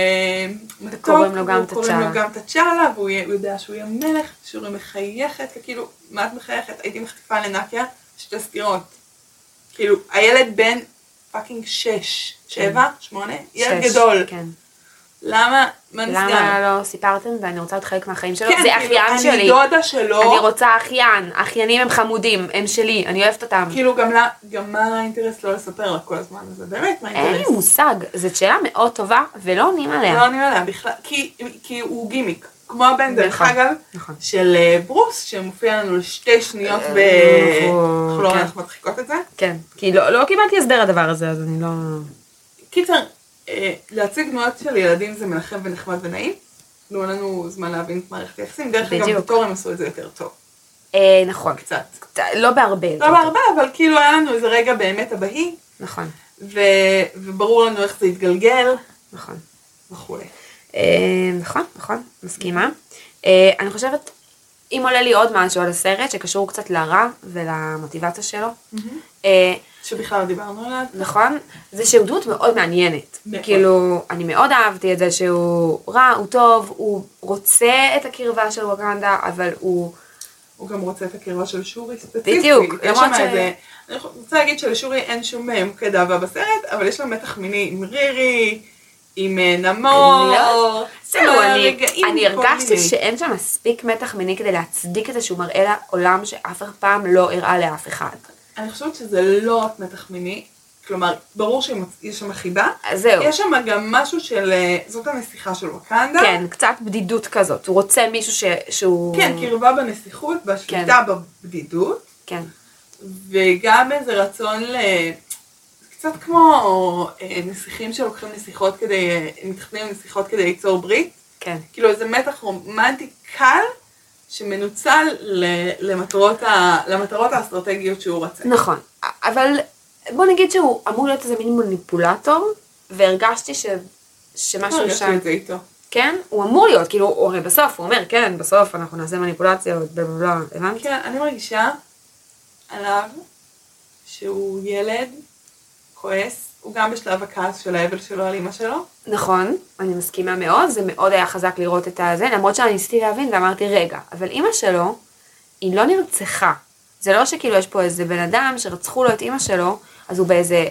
Speaker 2: מתוק,
Speaker 1: וקוראים לו גם
Speaker 2: והוא קוראים לו
Speaker 1: תצ'אלה.
Speaker 2: גם תצ'אלה, והוא יהיה- הוא יודע שהוא יהיה מלך, שורי מחייכת, וכאילו, מה את מחייכת? הייתי מחטיפה לנקיה שתי סגירות. כאילו, הילד בן פאקינג שש, שבע, שמונה, ילד
Speaker 1: כן. שש,
Speaker 2: גדול.
Speaker 1: כן.
Speaker 2: למה, מה נסגר?
Speaker 1: למה לא סיפרתם ואני רוצה להיות חלק מהחיים שלו?
Speaker 2: כן,
Speaker 1: זה
Speaker 2: כאילו,
Speaker 1: אחיין
Speaker 2: אני לא-
Speaker 1: שלי.
Speaker 2: דודה שלו.
Speaker 1: אני רוצה אחיין. אחיינים הם חמודים, הם שלי, אני אוהבת אותם.
Speaker 2: כאילו, גם לה- גם מה האינטרס לא לספר לה כל הזמן הזה? באמת, מה
Speaker 1: אין לי
Speaker 2: האינטרס?
Speaker 1: מושג, זאת שאלה מאוד טובה ולא עונים
Speaker 2: לא
Speaker 1: עליה.
Speaker 2: עונים עליה בכלל, כי, כי הוא גימיק, כמו הבן דרך
Speaker 1: נכון,
Speaker 2: אגב,
Speaker 1: נכון. אה,
Speaker 2: של אה, ברוס, שמופיע לנו לשתי שניות ב...
Speaker 1: נכון,
Speaker 2: אנחנו לא
Speaker 1: כן.
Speaker 2: אנחנו מדחיקות את זה.
Speaker 1: כן, כי לא לא קיבלתי הסבר לדבר הזה, אז אני לא...
Speaker 2: קיצר, אה, להציג דמויות של ילדים זה מנחם ונחמד ונעים. תנו לנו זמן להבין את מערכת היחסים, דרך אגב
Speaker 1: בדיוק.
Speaker 2: בתור הם עשו את זה יותר טוב,
Speaker 1: אה, נכון.
Speaker 2: קצת.
Speaker 1: לא בהרבה.
Speaker 2: לא בהרבה, אבל כאילו היה לנו איזה רגע באמת הבהי,
Speaker 1: נכון,
Speaker 2: ו... וברור לנו איך זה התגלגל,
Speaker 1: נכון.
Speaker 2: וכולי.
Speaker 1: אה, נכון, נכון, מסכימה. אה, אני חושבת, אם עולה לי עוד משהו על הסרט שקשור קצת לרע ולמוטיבציה שלו, אה,
Speaker 2: שבכלל לא דיברנו עליו.
Speaker 1: נכון? זה שהוא דמות מאוד מעניינת.
Speaker 2: מאוד.
Speaker 1: כאילו, אני מאוד אהבתי את זה שהוא רע, הוא טוב, הוא רוצה את הקרבה של וואקנדה, אבל הוא...
Speaker 2: הוא גם רוצה את הקרבה של שורי ספציפית.
Speaker 1: בדיוק,
Speaker 2: יש
Speaker 1: למרות
Speaker 2: שם
Speaker 1: ש-
Speaker 2: איזה... אני רוצה להגיד שלשורי אין שום אה, מוקד אהבה בסרט, אבל יש לה מתח מיני עם רירי, עם אה, נמור.
Speaker 1: אני לא- זהו,
Speaker 2: אה,
Speaker 1: אני,
Speaker 2: רגעים
Speaker 1: אני
Speaker 2: כל
Speaker 1: הרגשתי
Speaker 2: מיני.
Speaker 1: שאין שם מספיק מתח מיני כדי להצדיק את זה שהוא מראה לעולם שאף פעם לא הראה לאף אחד.
Speaker 2: אני חושבת שזה לא רק מתח מיני, כלומר, ברור שיש שם חיבה.
Speaker 1: אז זהו.
Speaker 2: יש שם גם משהו של... אה, זאת הנסיכה של ווקנדה.
Speaker 1: כן, קצת בדידות כזאת. הוא רוצה מישהו ש... שהוא...
Speaker 2: כן, קרבה בנסיכות, בשליטה בבדידות.
Speaker 1: כן.
Speaker 2: וגם איזה רצון ל... קצת כמו אה, נסיכים שלוקחים נסיכות כדי, אה, מתחתנים עם נסיכות כדי ליצור ברית,
Speaker 1: כן.
Speaker 2: כאילו איזה מתח רומנטי קל שמנוצל ל, למטרות, ה, למטרות האסטרטגיות שהוא רצה.
Speaker 1: נכון, אבל בוא נגיד שהוא אמור להיות איזה מין מניפולטור, והרגשתי ש... שמשהו
Speaker 2: הרגשתי
Speaker 1: שם,
Speaker 2: אה, את זה איתו.
Speaker 1: כן, הוא אמור להיות, כאילו, הוא הרי בסוף, הוא אומר, כן, בסוף אנחנו נעשה מניפולציות, בלה בלה בלה, הבנת?
Speaker 2: כן, אני מרגישה עליו שהוא ילד כועס, הוא גם בשלב הכעס של האבל שלו על אמא שלו,
Speaker 1: נכון, אני מסכימה מאוד, זה מאוד היה חזק לראות את הזה, למרות שאני ניסיתי להבין ואמרתי, רגע, אבל אימא שלו, היא לא נרצחה. זה לא שכאילו יש פה איזה בן אדם שרצחו לו את אימא שלו, אז הוא באיזה,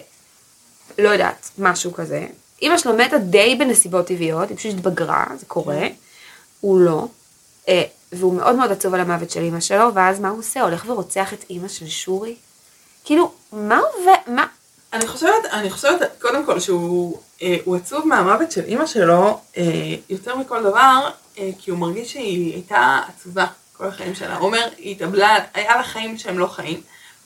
Speaker 1: לא יודעת, משהו כזה. אימא שלו מתה די בנסיבות טבעיות, היא פשוט התבגרה, זה קורה. הוא לא. אה, והוא מאוד מאוד עצוב על המוות של אימא שלו, ואז מה הוא עושה? הולך ורוצח את אימא של שורי? כאילו, מה עובד, מה?
Speaker 2: אני חושבת, אני חושבת קודם כל שהוא אה, הוא עצוב מהמוות של אימא שלו אה, יותר מכל דבר, אה, כי הוא מרגיש שהיא הייתה עצובה כל החיים שלה. הוא אומר, היא התאבלה, היה לה חיים שהם לא חיים.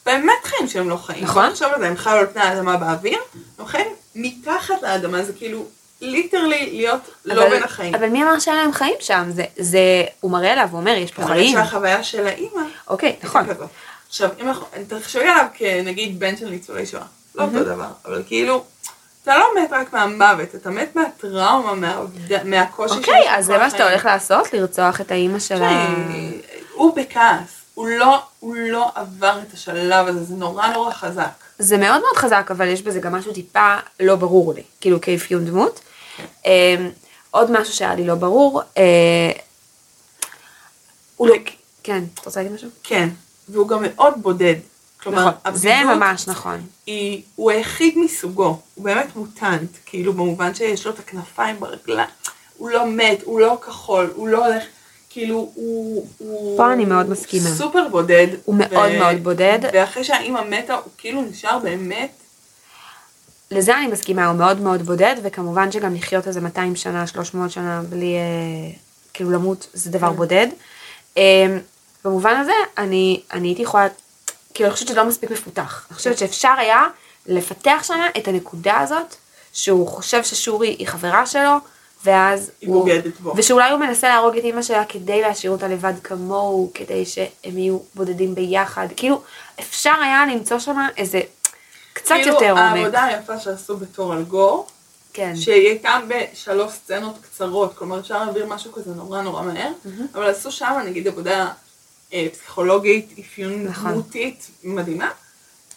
Speaker 2: באמת חיים שהם לא חיים.
Speaker 1: נכון.
Speaker 2: עכשיו על זה, הם חיו על פני האדמה באוויר, הם חיים מתחת לאדמה, זה כאילו ליטרלי להיות לא בין החיים.
Speaker 1: אבל מי אמר שאין להם חיים שם? זה, זה, הוא מראה לה ואומר, יש פה חיים.
Speaker 2: שהחוויה של האימא
Speaker 1: אוקיי,
Speaker 2: הייתה
Speaker 1: נכון.
Speaker 2: כזאת. עכשיו, אם אנחנו, תחשבי עליו כנגיד בן של ניצולי שואה, לא אותו דבר, אבל כאילו, אתה לא מת רק מהמוות, אתה מת מהטראומה, מהאובד- מהקושי שיש
Speaker 1: אוקיי, אז זה
Speaker 2: בכל
Speaker 1: מה שאתה
Speaker 2: החיים.
Speaker 1: הולך
Speaker 2: כן.
Speaker 1: לעשות? לרצוח את האימא שלה?
Speaker 2: תשמעי, הוא בכעס, הוא לא, הוא לא עבר את השלב הזה, זה נורא נורא חזק.
Speaker 1: זה מאוד מאוד חזק, אבל יש בזה גם משהו טיפה לא ברור לי, כאילו כאפיון דמות. אמ, עוד משהו שהיה לי לא ברור, אה, הוא לא... כן, את רוצה להגיד משהו?
Speaker 2: כן, והוא גם מאוד בודד. כלומר,
Speaker 1: נכון, זה
Speaker 2: הבדידות
Speaker 1: ממש נכון.
Speaker 2: היא, הוא היחיד מסוגו, הוא באמת מוטנט, כאילו במובן שיש לו את הכנפיים ברגליים, הוא לא מת, הוא לא כחול, הוא לא הולך, כאילו הוא... הוא
Speaker 1: פה אני מאוד מסכימה.
Speaker 2: סופר בודד.
Speaker 1: הוא מאוד מאוד בודד.
Speaker 2: ואחרי שהאימא מתה, הוא כאילו נשאר באמת,
Speaker 1: לזה אני מסכימה, הוא מאוד מאוד בודד, וכמובן שגם לחיות איזה 200 שנה, 300 שנה בלי, אה, כאילו למות, זה
Speaker 2: כן.
Speaker 1: דבר בודד. אה, במובן הזה, אני, אני הייתי יכולה, כאילו, אני חושבת שזה לא מספיק מפותח. אני חושבת שאפשר היה לפתח שם את הנקודה הזאת שהוא חושב ששורי היא חברה שלו, ואז
Speaker 2: היא בוגדת בו.
Speaker 1: ושאולי הוא מנסה להרוג את אימא שלה כדי להשאיר אותה לבד כמוהו, כדי שהם יהיו בודדים ביחד. כאילו, אפשר היה למצוא שם איזה קצת יותר
Speaker 2: כאילו
Speaker 1: עומק.
Speaker 2: העבודה היפה שעשו בתור אלגור,
Speaker 1: כן.
Speaker 2: שהיא הייתה בשלוש סצנות קצרות, כלומר אפשר להעביר משהו כזה נורא נורא מהר, אבל עשו שם נגיד עבודה אה, פסיכולוגית, אפיון
Speaker 1: נכון.
Speaker 2: דמותית מדהימה,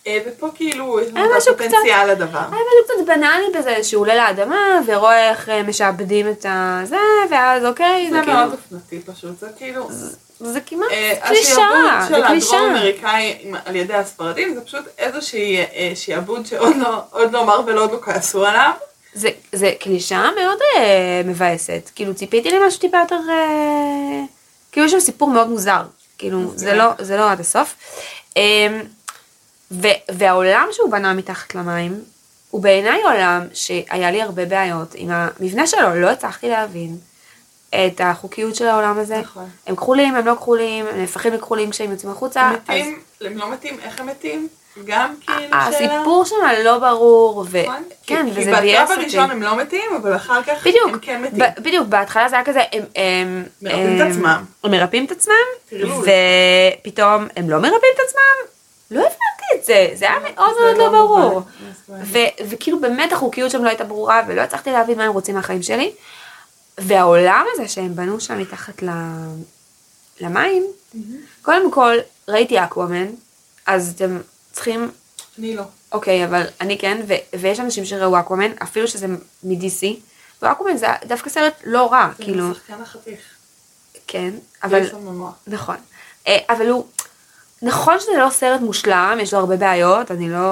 Speaker 2: אה, ופה כאילו יש
Speaker 1: היה
Speaker 2: לנו את
Speaker 1: אה, משהו קצת- אה,
Speaker 2: הפוטנציאל לדבר.
Speaker 1: היה משהו קצת בנאלי בזה שהוא עולה לאדמה ורואה איך אה, משעבדים את הזה, ואז אוקיי,
Speaker 2: זה
Speaker 1: זה
Speaker 2: מאוד
Speaker 1: כאילו,
Speaker 2: אופנתי פשוט, זה כאילו...
Speaker 1: זה כמעט
Speaker 2: אה,
Speaker 1: קלישאה, זה
Speaker 2: השעבוד של
Speaker 1: קלישאה.
Speaker 2: הדרום אמריקאי עם- על ידי הספרדים זה פשוט איזושהי אה, שעבוד שעוד לא- עוד לא מרוויל עוד לא כעסו עליו.
Speaker 1: זה, זה קלישאה מאוד אה, מבאסת, כאילו ציפיתי למשהו טיפה יותר, אה, כאילו יש שם סיפור מאוד מוזר, כאילו
Speaker 2: כן.
Speaker 1: זה לא, זה לא עד הסוף. אה, ו, והעולם שהוא בנה מתחת למים, הוא בעיניי עולם שהיה לי הרבה בעיות עם המבנה שלו, לא הצלחתי להבין את החוקיות של העולם הזה.
Speaker 2: נכון.
Speaker 1: הם כחולים, הם לא כחולים, הם נהפכים לכחולים כשהם יוצאים החוצה.
Speaker 2: הם מתים, הם לא מתים, איך הם מתים? גם כאילו
Speaker 1: אה,
Speaker 2: שאלה.
Speaker 1: הסיפור שם לא ברור, ו...
Speaker 2: נכון?
Speaker 1: כן,
Speaker 2: כי-
Speaker 1: וזה ביאס
Speaker 2: כי בקרב
Speaker 1: אותי.
Speaker 2: הראשון הם לא מתים, אבל אחר כך
Speaker 1: בדיוק,
Speaker 2: הם כן מתים.
Speaker 1: ב- בדיוק, בהתחלה זה היה כזה, הם... הם
Speaker 2: מרפאים את
Speaker 1: הם-
Speaker 2: עצמם.
Speaker 1: הם מרפאים את עצמם,
Speaker 2: טרלול.
Speaker 1: ופתאום הם לא מרפאים את עצמם? לא הבנתי את זה, זה היה מאוד
Speaker 2: אה,
Speaker 1: מאוד
Speaker 2: זה
Speaker 1: לא ברור.
Speaker 2: מובן, זה מסוים.
Speaker 1: ו- וכאילו באמת החוקיות שם לא הייתה ברורה, ולא הצלחתי להבין מה הם רוצים מהחיים שלי. והעולם הזה שהם בנו שם מתחת ל- למים, קודם כל, ראיתי אקוואמן, אז אתם צריכים
Speaker 2: אני לא.
Speaker 1: אוקיי, אבל אני כן, ו- ויש אנשים שראו אקוומן, אפילו שזה מ-DC, ואקוומן זה דווקא סרט לא רע,
Speaker 2: זה
Speaker 1: כאילו,
Speaker 2: שחקן החתיך.
Speaker 1: כן,
Speaker 2: אבל...
Speaker 1: אבל, נכון. אה, אבל הוא, נכון שזה לא סרט מושלם, יש לו הרבה בעיות, אני לא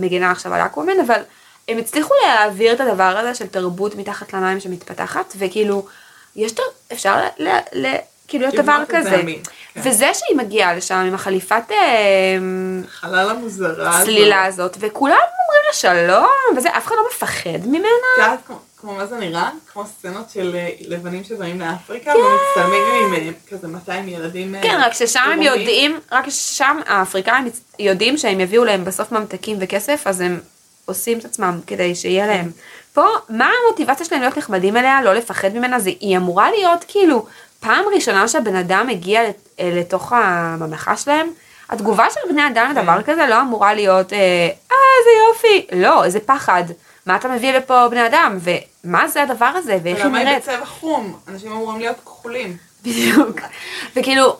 Speaker 1: מגינה עכשיו על אקוומן, אבל הם הצליחו להעביר את הדבר הזה של תרבות מתחת למים שמתפתחת, וכאילו, יש, תר- אפשר ל... ל- ל- כאילו, יש
Speaker 2: לבנות
Speaker 1: דבר
Speaker 2: את זה
Speaker 1: כזה.
Speaker 2: אמין, כן.
Speaker 1: וזה שהיא מגיעה לשם עם החליפת... אה,
Speaker 2: חלל המוזרה. הזאת.
Speaker 1: הצלילה הזאת, וכולם אומרים לה שלום, וזה, אף אחד לא מפחד ממנה.
Speaker 2: את יודעת כמו- כמו מה זה נראה? כמו סצנות של אה, לבנים שבאים לאפריקה ומצטלמים עם אה, כזה 200 ילדים. אה,
Speaker 1: כן, רק ששם הם
Speaker 2: עירומים.
Speaker 1: יודעים, רק ששם האפריקאים מצ- יודעים שהם יביאו להם בסוף ממתקים וכסף, אז הם עושים את עצמם כדי שיהיה להם. פה, מה המוטיבציה שלהם להיות נחמדים אליה, לא לפחד ממנה? זה, היא אמורה להיות כאילו, פעם ראשונה שהבן אדם הגיע לת- אה, לתוך הממלכה שלהם, התגובה של בני אדם לדבר כזה לא אמורה להיות, אה, אה, איזה יופי. לא, איזה פחד. מה אתה מביא לפה בני אדם, ומה זה הדבר הזה, ואיך היא
Speaker 2: ולמה היא
Speaker 1: נראית?
Speaker 2: בצבע חום? אנשים אמורים להיות כחולים.
Speaker 1: בדיוק. וכאילו,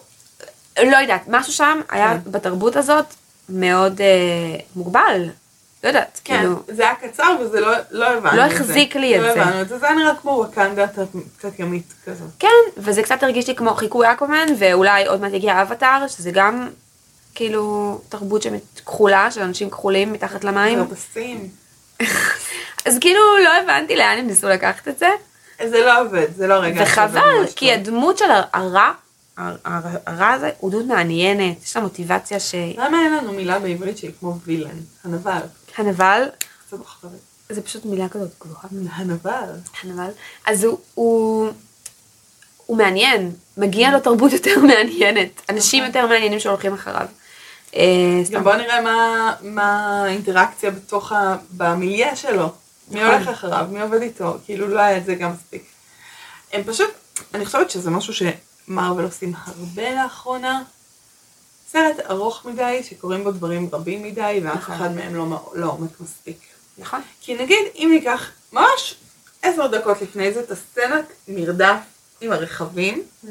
Speaker 1: לא יודעת, משהו שם היה
Speaker 2: כן.
Speaker 1: בתרבות הזאת מאוד אה, מוגבל. לא יודעת,
Speaker 2: כן,
Speaker 1: כאילו.
Speaker 2: זה היה קצר וזה לא- לא הבנו
Speaker 1: לא
Speaker 2: את זה.
Speaker 1: החזיק לי את
Speaker 2: לא
Speaker 1: זה.
Speaker 2: הבנו את זה, זה היה נראה כמו ווקנדה תת- תת-ימית כזאת.
Speaker 1: כן, וזה קצת הרגיש לי כמו חיקוי אקומן, ואולי עוד מעט יגיע אבטאר, שזה גם כאילו תרבות שמת- כחולה, של אנשים כחולים מתחת למים.
Speaker 2: כרפסים.
Speaker 1: אז כאילו לא הבנתי לאן הם ניסו לקחת את זה.
Speaker 2: זה לא עובד, זה לא רגע. שעובד
Speaker 1: וחבל,
Speaker 2: ממש לא-
Speaker 1: כי
Speaker 2: טוב.
Speaker 1: הדמות של הר- הרע, הר- הר- הרע הזה, הוא דמות מעניינת, יש לה מוטיבציה ש...
Speaker 2: למה אין לנו מילה בעברית שהיא כמו וילן? הנבל.
Speaker 1: הנבל,
Speaker 2: זה בחרית.
Speaker 1: זה פשוט מילה כזאת גבוהה.
Speaker 2: הנבל.
Speaker 1: הנבל. אז הוא, הוא, הוא מעניין, מגיע לו תרבות יותר מעניינת, אנשים יותר מעניינים שהולכים אחריו. אה, סתם.
Speaker 2: אוקיי. גם בוא נראה מה- מה האינטראקציה בתוך ה... במיליה שלו. מי
Speaker 1: נכון.
Speaker 2: הולך אחריו, מי עובד איתו, כאילו לא היה את זה גם מספיק. הם פשוט, אני חושבת שזה משהו שמרוויל עושים הרבה לאחרונה. סרט ארוך מדי, שקורים בו דברים רבים מדי, ואף
Speaker 1: נכון.
Speaker 2: אחד מהם לא מע- לא עומד מספיק.
Speaker 1: נכון.
Speaker 2: כי נגיד, אם ניקח ממש עשר דקות לפני זה את הסצנת מרדף עם הרכבים,
Speaker 1: Mm-hmm.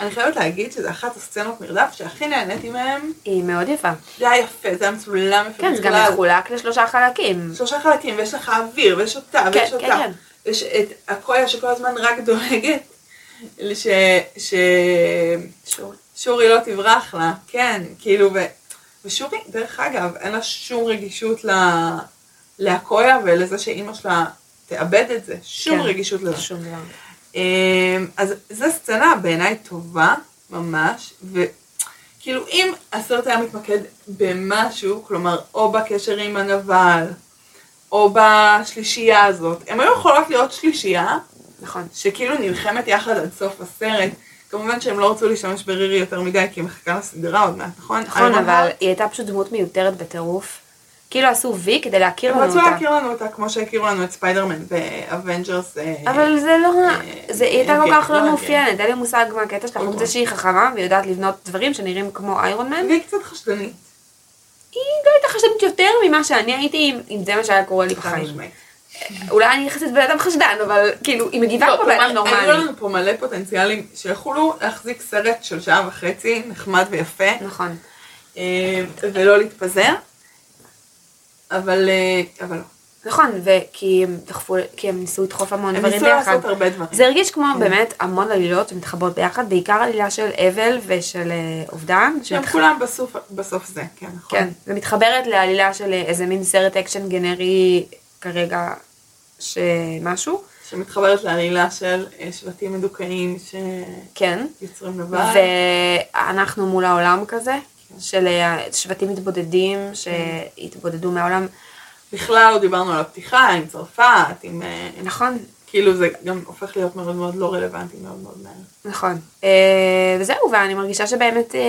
Speaker 2: אני חייבת להגיד שזו אחת הסצנות מרדף שהכי נהניתי מהן.
Speaker 1: היא מאוד יפה.
Speaker 2: זה היה יפה, זה היה מצולם יפה.
Speaker 1: כן, זה גם
Speaker 2: מצולל.
Speaker 1: מחולק לשלושה חלקים.
Speaker 2: שלושה חלקים, ויש לך אוויר, ויש אותה,
Speaker 1: כן,
Speaker 2: ויש
Speaker 1: כן,
Speaker 2: אותה.
Speaker 1: כן.
Speaker 2: ויש את הקויה שכל הזמן רק דואגת, ש... ש...
Speaker 1: שוב.
Speaker 2: שורי לא תברח לה, כן, כאילו, ו... ושורי, דרך אגב, אין לה שום רגישות ל... להקויה ולזה שאימא שלה תאבד את זה, שום
Speaker 1: כן.
Speaker 2: רגישות לזה.
Speaker 1: שום דבר.
Speaker 2: אמ, אז זו סצנה בעיניי טובה, ממש, וכאילו אם הסרט היה מתמקד במשהו, כלומר או בקשר עם הנבל, או בשלישייה הזאת, הם היו יכולות להיות שלישייה
Speaker 1: נכון.
Speaker 2: שכאילו נלחמת יחד עד סוף הסרט. כמובן שהם לא רצו להשתמש ברירי יותר מדי, כי היא מחכה לסדרה עוד מעט, נכון?
Speaker 1: נכון,
Speaker 2: איירון
Speaker 1: אבל
Speaker 2: הארט?
Speaker 1: היא הייתה פשוט דמות מיותרת בטירוף. כאילו עשו וי כדי להכיר
Speaker 2: הם
Speaker 1: לנו
Speaker 2: רצו
Speaker 1: אותה.
Speaker 2: להכיר לנו אותה כמו שהכירו לנו את ספיידרמן אה, באבנג'רס.
Speaker 1: אבל זה לא, זה היא הייתה כל
Speaker 2: אוקיי,
Speaker 1: כך לא
Speaker 2: לא
Speaker 1: מאופיינת, אין לי מושג מה הקטע שלך,
Speaker 2: אוקיי.
Speaker 1: חוץ מזה שהיא חכמה ויודעת לבנות דברים שנראים כמו איירון מן.
Speaker 2: והיא קצת חשדנית.
Speaker 1: היא לא הייתה חשדנית יותר ממה שאני הייתי, אם- אם זה מה שהיה קורה לי
Speaker 2: חד
Speaker 1: בחיים.
Speaker 2: משמעית.
Speaker 1: אולי אני נכנסת בן אדם חשדן, אבל כאילו, היא מגיבה
Speaker 2: לא,
Speaker 1: כמו בן אדם
Speaker 2: כלומר, היו
Speaker 1: נורמלי.
Speaker 2: לנו פה מלא פוטנציאלים שיכולו להחזיק סרט של שעה וחצי, נחמד ויפה,
Speaker 1: נכון.
Speaker 2: אה, ולא להתפזר, אבל אה, אבל לא.
Speaker 1: נכון, וכי הם דחפו, כי הם ניסו לדחוף המון
Speaker 2: הם
Speaker 1: דברים
Speaker 2: ניסו
Speaker 1: ביחד.
Speaker 2: לעשות הרבה דברים.
Speaker 1: זה הרגיש כמו באמת המון עלילות שמתחברות ביחד, בעיקר עלילה של אבל ושל אה, אובדן.
Speaker 2: שהם
Speaker 1: שמתח-
Speaker 2: כולם בסוף, בסוף זה, כן, נכון.
Speaker 1: כן, ומתחברת לעלילה של אה, איזה מין סרט אקשן גנרי כרגע שמשהו,
Speaker 2: שמתחברת לעלילה של אה, שבטים מדוכאים שיוצרים
Speaker 1: כן.
Speaker 2: לבד.
Speaker 1: ואנחנו מול העולם כזה, של אה, שבטים מתבודדים שהתבודדו מהעולם.
Speaker 2: בכלל לא דיברנו על הפתיחה, עם צרפת, עם... אה,
Speaker 1: נכון,
Speaker 2: כאילו זה גם הופך להיות מאוד מאוד לא רלוונטי, מאוד מאוד מהר.
Speaker 1: נכון. אה, וזהו, ואני מרגישה שבאמת, אה,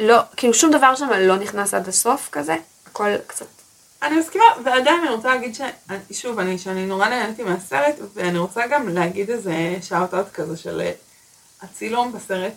Speaker 1: לא, כאילו שום דבר שם לא נכנס עד הסוף כזה, הכל קצת,
Speaker 2: אני מסכימה, ועדיין אני רוצה להגיד ש... שוב, אני, שאני נורא נהניתי מהסרט, ואני רוצה גם להגיד איזה שאוט-אוט כזה של אה, הצילום בסרט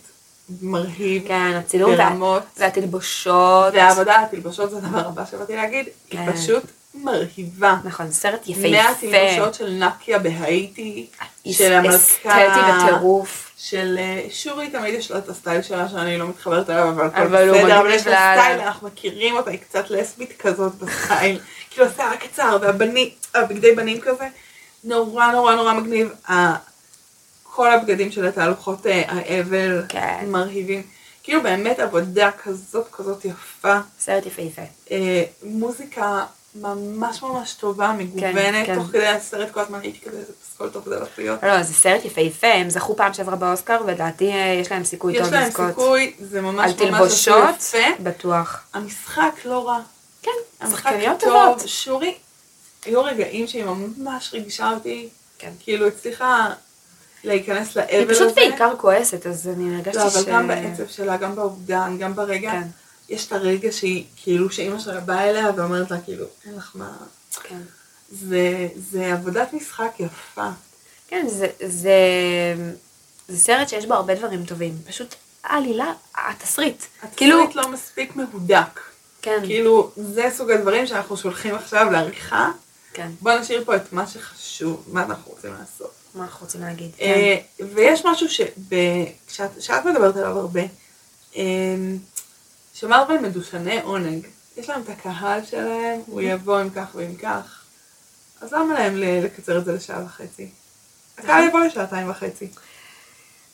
Speaker 2: מרהיב.
Speaker 1: כן, הצילום וה-
Speaker 2: ברמות.
Speaker 1: והתלבושות.
Speaker 2: והעבודה על התלבשות זה הדבר הבא שבאתי להגיד, היא
Speaker 1: כן.
Speaker 2: פשוט מרהיבה.
Speaker 1: נכון, סרט יפהפה,
Speaker 2: מהתלבשות של נקיה בהאיטי, של
Speaker 1: אסתטי
Speaker 2: המלכה,
Speaker 1: בטירוף.
Speaker 2: של אה, שורי תמיד יש לה את הסטייל שלה שאני לא מתחברת אליו, אבל הכל
Speaker 1: אבל הוא
Speaker 2: בסדר, אבל
Speaker 1: מגניב
Speaker 2: יש לה
Speaker 1: לאללה.
Speaker 2: סטייל, אנחנו מכירים אותה, היא קצת לסבית כזאת בסטייל, כאילו השיער הקצר והבני- הבגדי בנים כזה, נורא נורא נורא מגניב, ה- כל הבגדים של התהלוכות אה, האבל
Speaker 1: כן.
Speaker 2: מרהיבים, כאילו באמת עבודה כזאת כזאת יפה.
Speaker 1: סרט יפהפה.
Speaker 2: אה, מוזיקה ממש ממש טובה, מגוונת,
Speaker 1: כן.
Speaker 2: תוך כדי הסרט כל הזמן הייתי כזה, איזה פסקול טוב זה הולך להיות.
Speaker 1: לא, זה סרט יפהפה, הם זכו פעם שעברה באוסקר, ולדעתי אה, יש להם סיכוי
Speaker 2: יש
Speaker 1: טוב
Speaker 2: להם
Speaker 1: לזכות.
Speaker 2: סיכוי, זה ממש
Speaker 1: על
Speaker 2: ממש
Speaker 1: תלבושות,
Speaker 2: עשו יפה.
Speaker 1: בטוח.
Speaker 2: המשחק לא רע.
Speaker 1: כן,
Speaker 2: המשחק
Speaker 1: שחקניות
Speaker 2: טוב.
Speaker 1: טובות.
Speaker 2: שורי, היו רגעים שהיא ממש ריגשה אותי,
Speaker 1: כן.
Speaker 2: כאילו הצליחה להיכנס לאבל
Speaker 1: היא
Speaker 2: הזה.
Speaker 1: פשוט בעיקר כועסת, אז אני הרגשתי
Speaker 2: לא,
Speaker 1: ש...
Speaker 2: אבל גם בעצב שלה, גם באובדן, גם ברגע.
Speaker 1: כן.
Speaker 2: יש את הרגע שהיא, כאילו, שאימא שלה באה אליה ואומרת לה, כאילו, אין לך מה...
Speaker 1: כן.
Speaker 2: זה, זה עבודת משחק יפה.
Speaker 1: כן, זה, זה, זה סרט שיש בו הרבה דברים טובים. פשוט העלילה, התסריט.
Speaker 2: התסריט
Speaker 1: כאילו,
Speaker 2: לא מספיק מהודק.
Speaker 1: כן,
Speaker 2: כאילו, זה סוג הדברים שאנחנו שולחים עכשיו לעריכה.
Speaker 1: כן,
Speaker 2: בוא נשאיר פה את מה שחשוב, מה אנחנו רוצים לעשות.
Speaker 1: מה אנחנו רוצים להגיד? כן,
Speaker 2: אה, ויש משהו שאת מדברת עליו הרבה, אה, שמרוויל מדושני עונג. יש להם את הקהל שלהם,
Speaker 1: Mm-hmm.
Speaker 2: הוא יבוא עם כך ועם כך. אז למה להם ל- לקצר את זה לשעה וחצי?
Speaker 1: Mm-hmm.
Speaker 2: הקהל יבוא לשעתיים וחצי.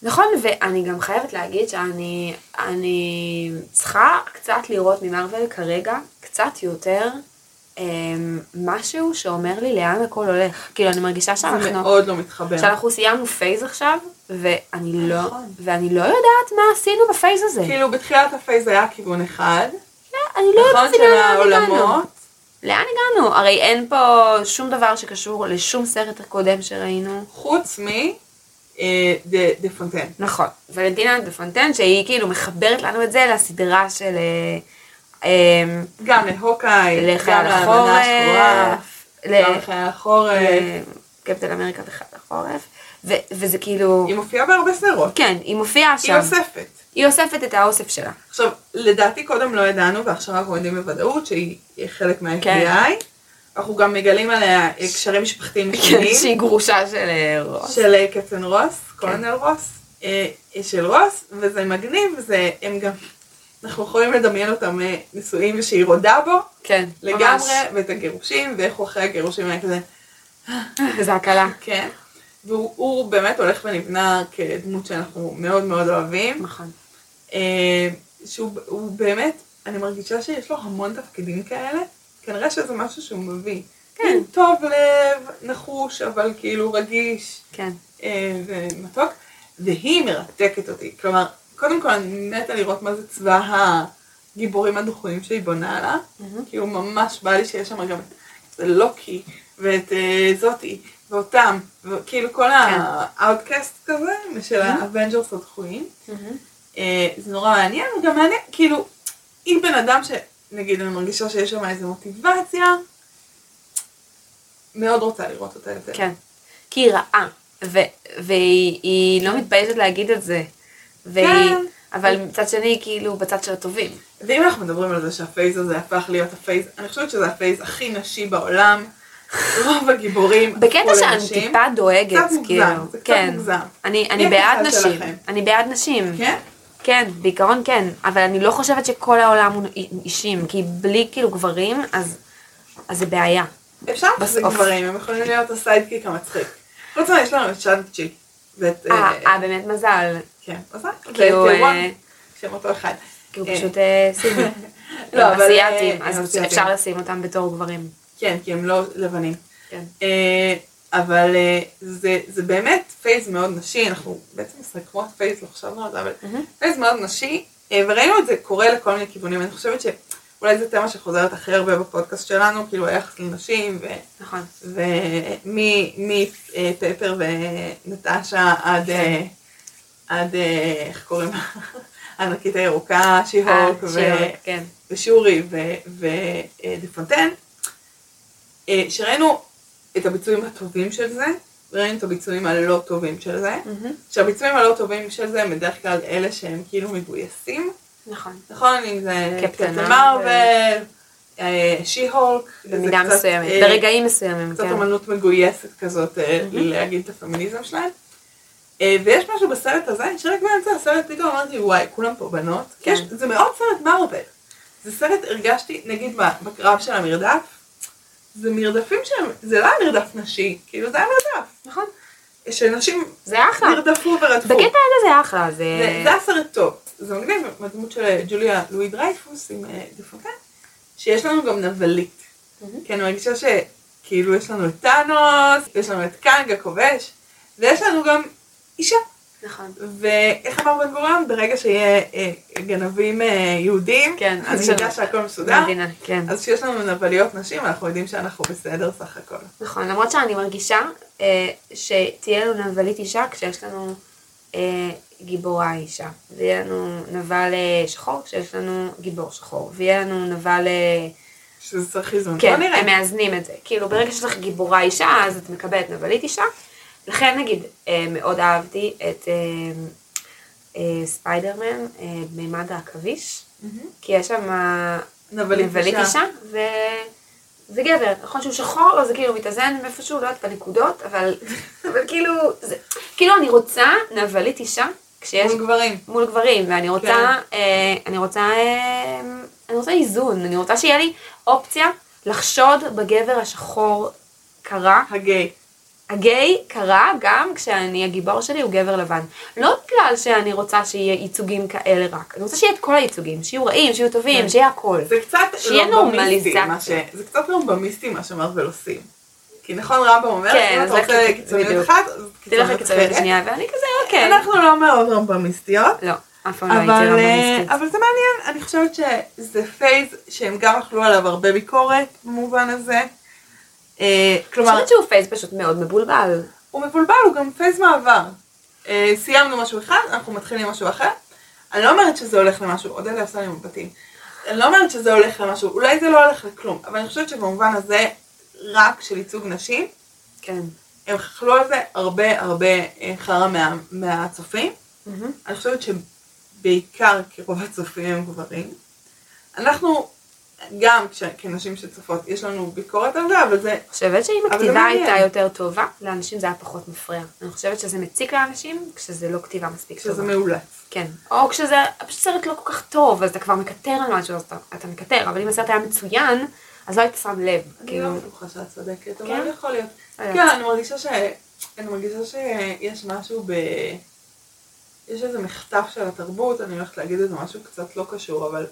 Speaker 1: נכון, ואני גם חייבת להגיד שאני אני צריכה קצת לראות ממרוויל כרגע, קצת יותר, אמ, משהו שאומר לי לאן הכל הולך. כאילו, אני מרגישה
Speaker 2: זה
Speaker 1: שאנחנו...
Speaker 2: מאוד לא מתחבר.
Speaker 1: שאנחנו סיימנו פייז עכשיו, ואני לא,
Speaker 2: נכון.
Speaker 1: ואני לא יודעת מה עשינו בפייז הזה.
Speaker 2: כאילו בתחילת הפייז היה כיוון אחד,
Speaker 1: לא, אני לא
Speaker 2: נכון?
Speaker 1: יודעת
Speaker 2: של
Speaker 1: אפילו לאן הגענו.
Speaker 2: העולמות.
Speaker 1: לאן הגענו? הרי אין פה שום דבר שקשור לשום סרט הקודם שראינו.
Speaker 2: חוץ מ... אה, דה דה פונטיין.
Speaker 1: נכון, ולדינה דה פונטן, שהיא כאילו מחברת לנו את זה לסדרה של... אה, אה,
Speaker 2: גם להוקאי, גם
Speaker 1: לחייל
Speaker 2: לאמנה השחורה,
Speaker 1: החורף,
Speaker 2: גם
Speaker 1: ל-
Speaker 2: לחייל החורף.
Speaker 1: אה, קפטן אמריקה וחד החורף, ו- וזה כאילו...
Speaker 2: היא מופיעה בהרבה סדרות.
Speaker 1: כן, היא מופיעה
Speaker 2: היא
Speaker 1: שם.
Speaker 2: אוספת.
Speaker 1: היא אוספת את האוסף שלה.
Speaker 2: עכשיו, לדעתי קודם לא ידענו, ועכשיו אנחנו יודעים בוודאות שהיא חלק מה-FBI. אנחנו גם מגלים עליה אה, קשרים משפחתיים
Speaker 1: כן,
Speaker 2: משונים,
Speaker 1: שהיא כן. גרושה של אה, רוס.
Speaker 2: של אה, קפטן רוס, קולנל רוס, אה, של רוס, וזה מגניב, זה, הם גם, אנחנו יכולים לדמיין אותם אה, נשואים ושהיא רודה בו.
Speaker 1: כן,
Speaker 2: לגמרי, ואת הגירושים, ואיך הוא אחרי הגירושים היה כזה,
Speaker 1: ממש. זה הקלה.
Speaker 2: כן. והוא הוא באמת הולך ונבנה כדמות שאנחנו מאוד מאוד אוהבים.
Speaker 1: נכון.
Speaker 2: אה, שהוא הוא באמת, אני מרגישה שיש לו המון תפקידים כאלה. כנראה שזה משהו שהוא מביא. כן. טוב לב, נחוש, אבל כאילו רגיש
Speaker 1: כן.
Speaker 2: אה, ומתוק. והיא מרתקת אותי. כלומר, קודם כל אני מתה לראות מה זה צבא הגיבורים הדחויים שהיא בונה עליו. כי הוא ממש בא לי שיש שם גם את לוקי, ואת אה, זאתי, ואותם, וכאילו כל האאוטקאסט כזה, של האבנג'רס Mm-hmm. הדחויים. אה, זה נורא מעניין, וגם מעניין, כאילו, היא בן אדם נגיד אני מרגישה שיש שם איזו מוטיבציה, מאוד רוצה לראות אותה יותר.
Speaker 1: כן. כי היא רעה, ו- והיא היא לא מתביישת להגיד את זה. והיא,
Speaker 2: כן.
Speaker 1: אבל מצד שני, היא כאילו, בצד של הטובים.
Speaker 2: ואם אנחנו מדברים על זה שהפייס הזה הפך להיות הפייס, אני חושבת שזה הפייס הכי נשי בעולם. רוב הגיבורים הפכו
Speaker 1: בקטע שאני
Speaker 2: לנשים.
Speaker 1: טיפה דואגת,
Speaker 2: קצת מוגזם,
Speaker 1: כאילו.
Speaker 2: זה קצת
Speaker 1: כן.
Speaker 2: מוגזם.
Speaker 1: אני,
Speaker 2: מי
Speaker 1: אני
Speaker 2: הקהל
Speaker 1: בעד נשים.
Speaker 2: שלכם?
Speaker 1: אני בעד נשים.
Speaker 2: כן?
Speaker 1: כן, בעיקרון כן, אבל אני לא חושבת שכל העולם הוא אישים, כי בלי כאילו גברים, אז, אז זה בעיה.
Speaker 2: אפשר להחזיק
Speaker 1: בסוף.
Speaker 2: גברים, הם יכולים להיות הסיידקיק המצחיק. חוץ מזה יש לנו את שאנצ'י. ואת...
Speaker 1: אה, אה, באמת מזל.
Speaker 2: כן, עושה. ואת
Speaker 1: כאילו, אה,
Speaker 2: וואן, שהם אותו אחד.
Speaker 1: כי הוא
Speaker 2: אה,
Speaker 1: פשוט אה, סיני. הם
Speaker 2: לא, אבל, אה,
Speaker 1: אסיאתים,
Speaker 2: הם
Speaker 1: אז
Speaker 2: אסיאתים.
Speaker 1: אפשר לשים אותם בתור גברים.
Speaker 2: כן, כי הם לא לבנים.
Speaker 1: כן.
Speaker 2: אה, אבל אה, זה, זה באמת פייס מאוד נשי, אנחנו בעצם מסתכלות פייס, לא חשבנו על זה, אבל פייס מאוד נשי, אה, וראינו את זה קורה לכל מיני כיוונים, אני חושבת שאולי זו תמה שחוזרת הכי הרבה בפודקאסט שלנו, כאילו היחס לנשים, ו-
Speaker 1: נכון.
Speaker 2: ומפפר ונטשה עד, אה, עד, אה, איך קוראים לה? הענקית הירוקה,
Speaker 1: אה,
Speaker 2: שיהוק,
Speaker 1: שיהוק, כן.
Speaker 2: ושורי ודה פונטיין, אה, שראינו את הביצועים הטובים של זה, וראינו את הביצועים הלא טובים של זה,
Speaker 1: Mm.
Speaker 2: שהביצועים הלא טובים של זה הם בדרך כלל אלה שהם כאילו מגויסים,
Speaker 1: נכון.
Speaker 2: נכון? אם זה
Speaker 1: קפטן
Speaker 2: קפטן
Speaker 1: מרוויל.
Speaker 2: מרוויל, אה, שי-הולק, זה
Speaker 1: במידה
Speaker 2: קצת,
Speaker 1: מסוימת,
Speaker 2: אה,
Speaker 1: ברגעים מסוימים,
Speaker 2: קצת
Speaker 1: כן.
Speaker 2: אמנות מגויסת כזאת אה, להגיד את הפמיניזם שלהם. אה, ויש משהו בסרט הזה, שרק באמצע הסרט פתאום אמרתי, וואי, כולם פה בנות.
Speaker 1: כן.
Speaker 2: יש, זה מאוד סרט מרוויל. זה סרט, הרגשתי, נגיד מה, בקרב של המרדף, זה מרדפים שהם, זה לא היה מרדף נשי, כאילו זה היה מרדף.
Speaker 1: נכון.
Speaker 2: שנשים
Speaker 1: זה אחלה.
Speaker 2: נרדפו ורדפו.
Speaker 1: נכון. בקטע הזה זה אחלה, זה...
Speaker 2: זה זה היה סרט טוב. זה מגניב, בדמות של אה, ג'וליה לואי דרייפוס עם אה, דפקה, שיש לנו גם נבלית. כי אני מרגישה שכאילו יש לנו את טאנוס, יש לנו את קאנג הכובש, ויש לנו גם אישה.
Speaker 1: נכון.
Speaker 2: ואיך אמר בן גוריון? ברגע שיהיה אה, גנבים אה, יהודים,
Speaker 1: כן, אז
Speaker 2: אז
Speaker 1: יש לנו-
Speaker 2: נדע שהכל מסודר.
Speaker 1: מדינה, כן.
Speaker 2: אז כשיש לנו נבליות נשים, אנחנו יודעים שאנחנו בסדר סך הכל.
Speaker 1: נכון, למרות שאני מרגישה אה, שתהיה לנו נבלית אישה כשיש לנו אה, גיבורה אישה. ויהיה לנו נבל אה, שחור כשיש לנו גיבור שחור. ויהיה לנו נבל... אה,
Speaker 2: שזה צריך איזון. בוא
Speaker 1: כן,
Speaker 2: לא נראה.
Speaker 1: הם מאזנים את זה. כאילו, ברגע שיש לך גיבורה אישה, אז את מקבלת נבלית אישה. לכן, נגיד, אה, מאוד אהבתי את אה, אה, ספיידרמן, אה, מימד העכביש, כי יש שם אה,
Speaker 2: נבלית
Speaker 1: נבלית
Speaker 2: אישה.
Speaker 1: אישה, ו... זה גבר, נכון שהוא שחור, אז זה כאילו מתאזן איפשהו, לא יודעת, בנקודות, אבל, אבל כאילו, זה, כאילו אני רוצה נבלית אישה, כשיש
Speaker 2: מול גברים.
Speaker 1: מול גברים, ואני רוצה,
Speaker 2: כן.
Speaker 1: אה, אני רוצה, אה, אני רוצה איזון, אני רוצה שיהיה לי אופציה לחשוד בגבר השחור קרה,
Speaker 2: הגיי.
Speaker 1: הגיי קרה גם כשאני, הגיבור שלי הוא גבר לבן. לא בגלל שאני רוצה שיהיה ייצוגים כאלה רק, אני רוצה שיהיה את כל הייצוגים, שיהיו רעים, שיהיו טובים, שיהיה הכל.
Speaker 2: כן. זה קצת
Speaker 1: שיהיה
Speaker 2: רמב"מיסטי,
Speaker 1: נורמליזציה.
Speaker 2: מה ש... זה קצת רמב"מיסטי מה שמרוויל עושים. כי נכון רמב"ם אומר,
Speaker 1: כן,
Speaker 2: אם
Speaker 1: אז
Speaker 2: אתה
Speaker 1: רק
Speaker 2: רוצה
Speaker 1: לק-
Speaker 2: קיצוניות
Speaker 1: בדיוק.
Speaker 2: אחת, אז
Speaker 1: תלך
Speaker 2: קיצוניות
Speaker 1: לקיצוניות
Speaker 2: אחרת.
Speaker 1: השנייה, ואני כזה, אוקיי.
Speaker 2: אנחנו לא מאוד רמב"מיסטיות,
Speaker 1: לא, אף פעם לא הייתי
Speaker 2: אבל אה,
Speaker 1: רמב"מיסטית.
Speaker 2: אבל זה מעניין, אני חושבת שזה פייז שהם גם אכלו עליו הרבה ביקורת במובן הזה. אה,
Speaker 1: אני
Speaker 2: כלומר,
Speaker 1: חושבת שהוא פייס פשוט מאוד מבולבל.
Speaker 2: הוא מבולבל, הוא גם פייז מעבר. אה, סיימנו משהו אחד, אנחנו מתחילים משהו אחר. אני לא אומרת שזה הולך למשהו, אודליה עושה לי מבטים. אני לא אומרת שזה הולך למשהו, אולי זה לא הולך לכלום, אבל אני חושבת שבמובן הזה, רק של ייצוג נשים,
Speaker 1: כן.
Speaker 2: הם אכלו על זה הרבה הרבה אה, חרא מה, מהצופים.
Speaker 1: מהמם.
Speaker 2: אני חושבת שבעיקר כי רוב הצופים הם גברים. אנחנו, גם כש, כנשים שצופות, יש לנו ביקורת על זה, אבל זה,
Speaker 1: חושבת שאם
Speaker 2: אבל זה
Speaker 1: הכתיבה
Speaker 2: מעניין.
Speaker 1: הייתה יותר טובה, לאנשים זה היה פחות מפריע. אני חושבת שזה מציק לאנשים כשזה לא כתיבה מספיק
Speaker 2: שזה
Speaker 1: טובה.
Speaker 2: מאולץ.
Speaker 1: כן. או כשזה פשוט סרט לא כל כך טוב, אז אתה כבר מקטר על משהו, אז אתה, אתה מקטר, אבל אם הסרט היה מצוין, אז לא היית שם לב.
Speaker 2: אני לא
Speaker 1: כאילו,
Speaker 2: בטוחה שאת צודקת,
Speaker 1: כן?
Speaker 2: אבל יכול להיות.
Speaker 1: לא יודעת.
Speaker 2: כן, אני מרגישה ש... אני מרגישה שיש משהו ב... יש איזה מחטף של התרבות, אני הולכת להגיד איזה משהו קצת לא קשור, אבל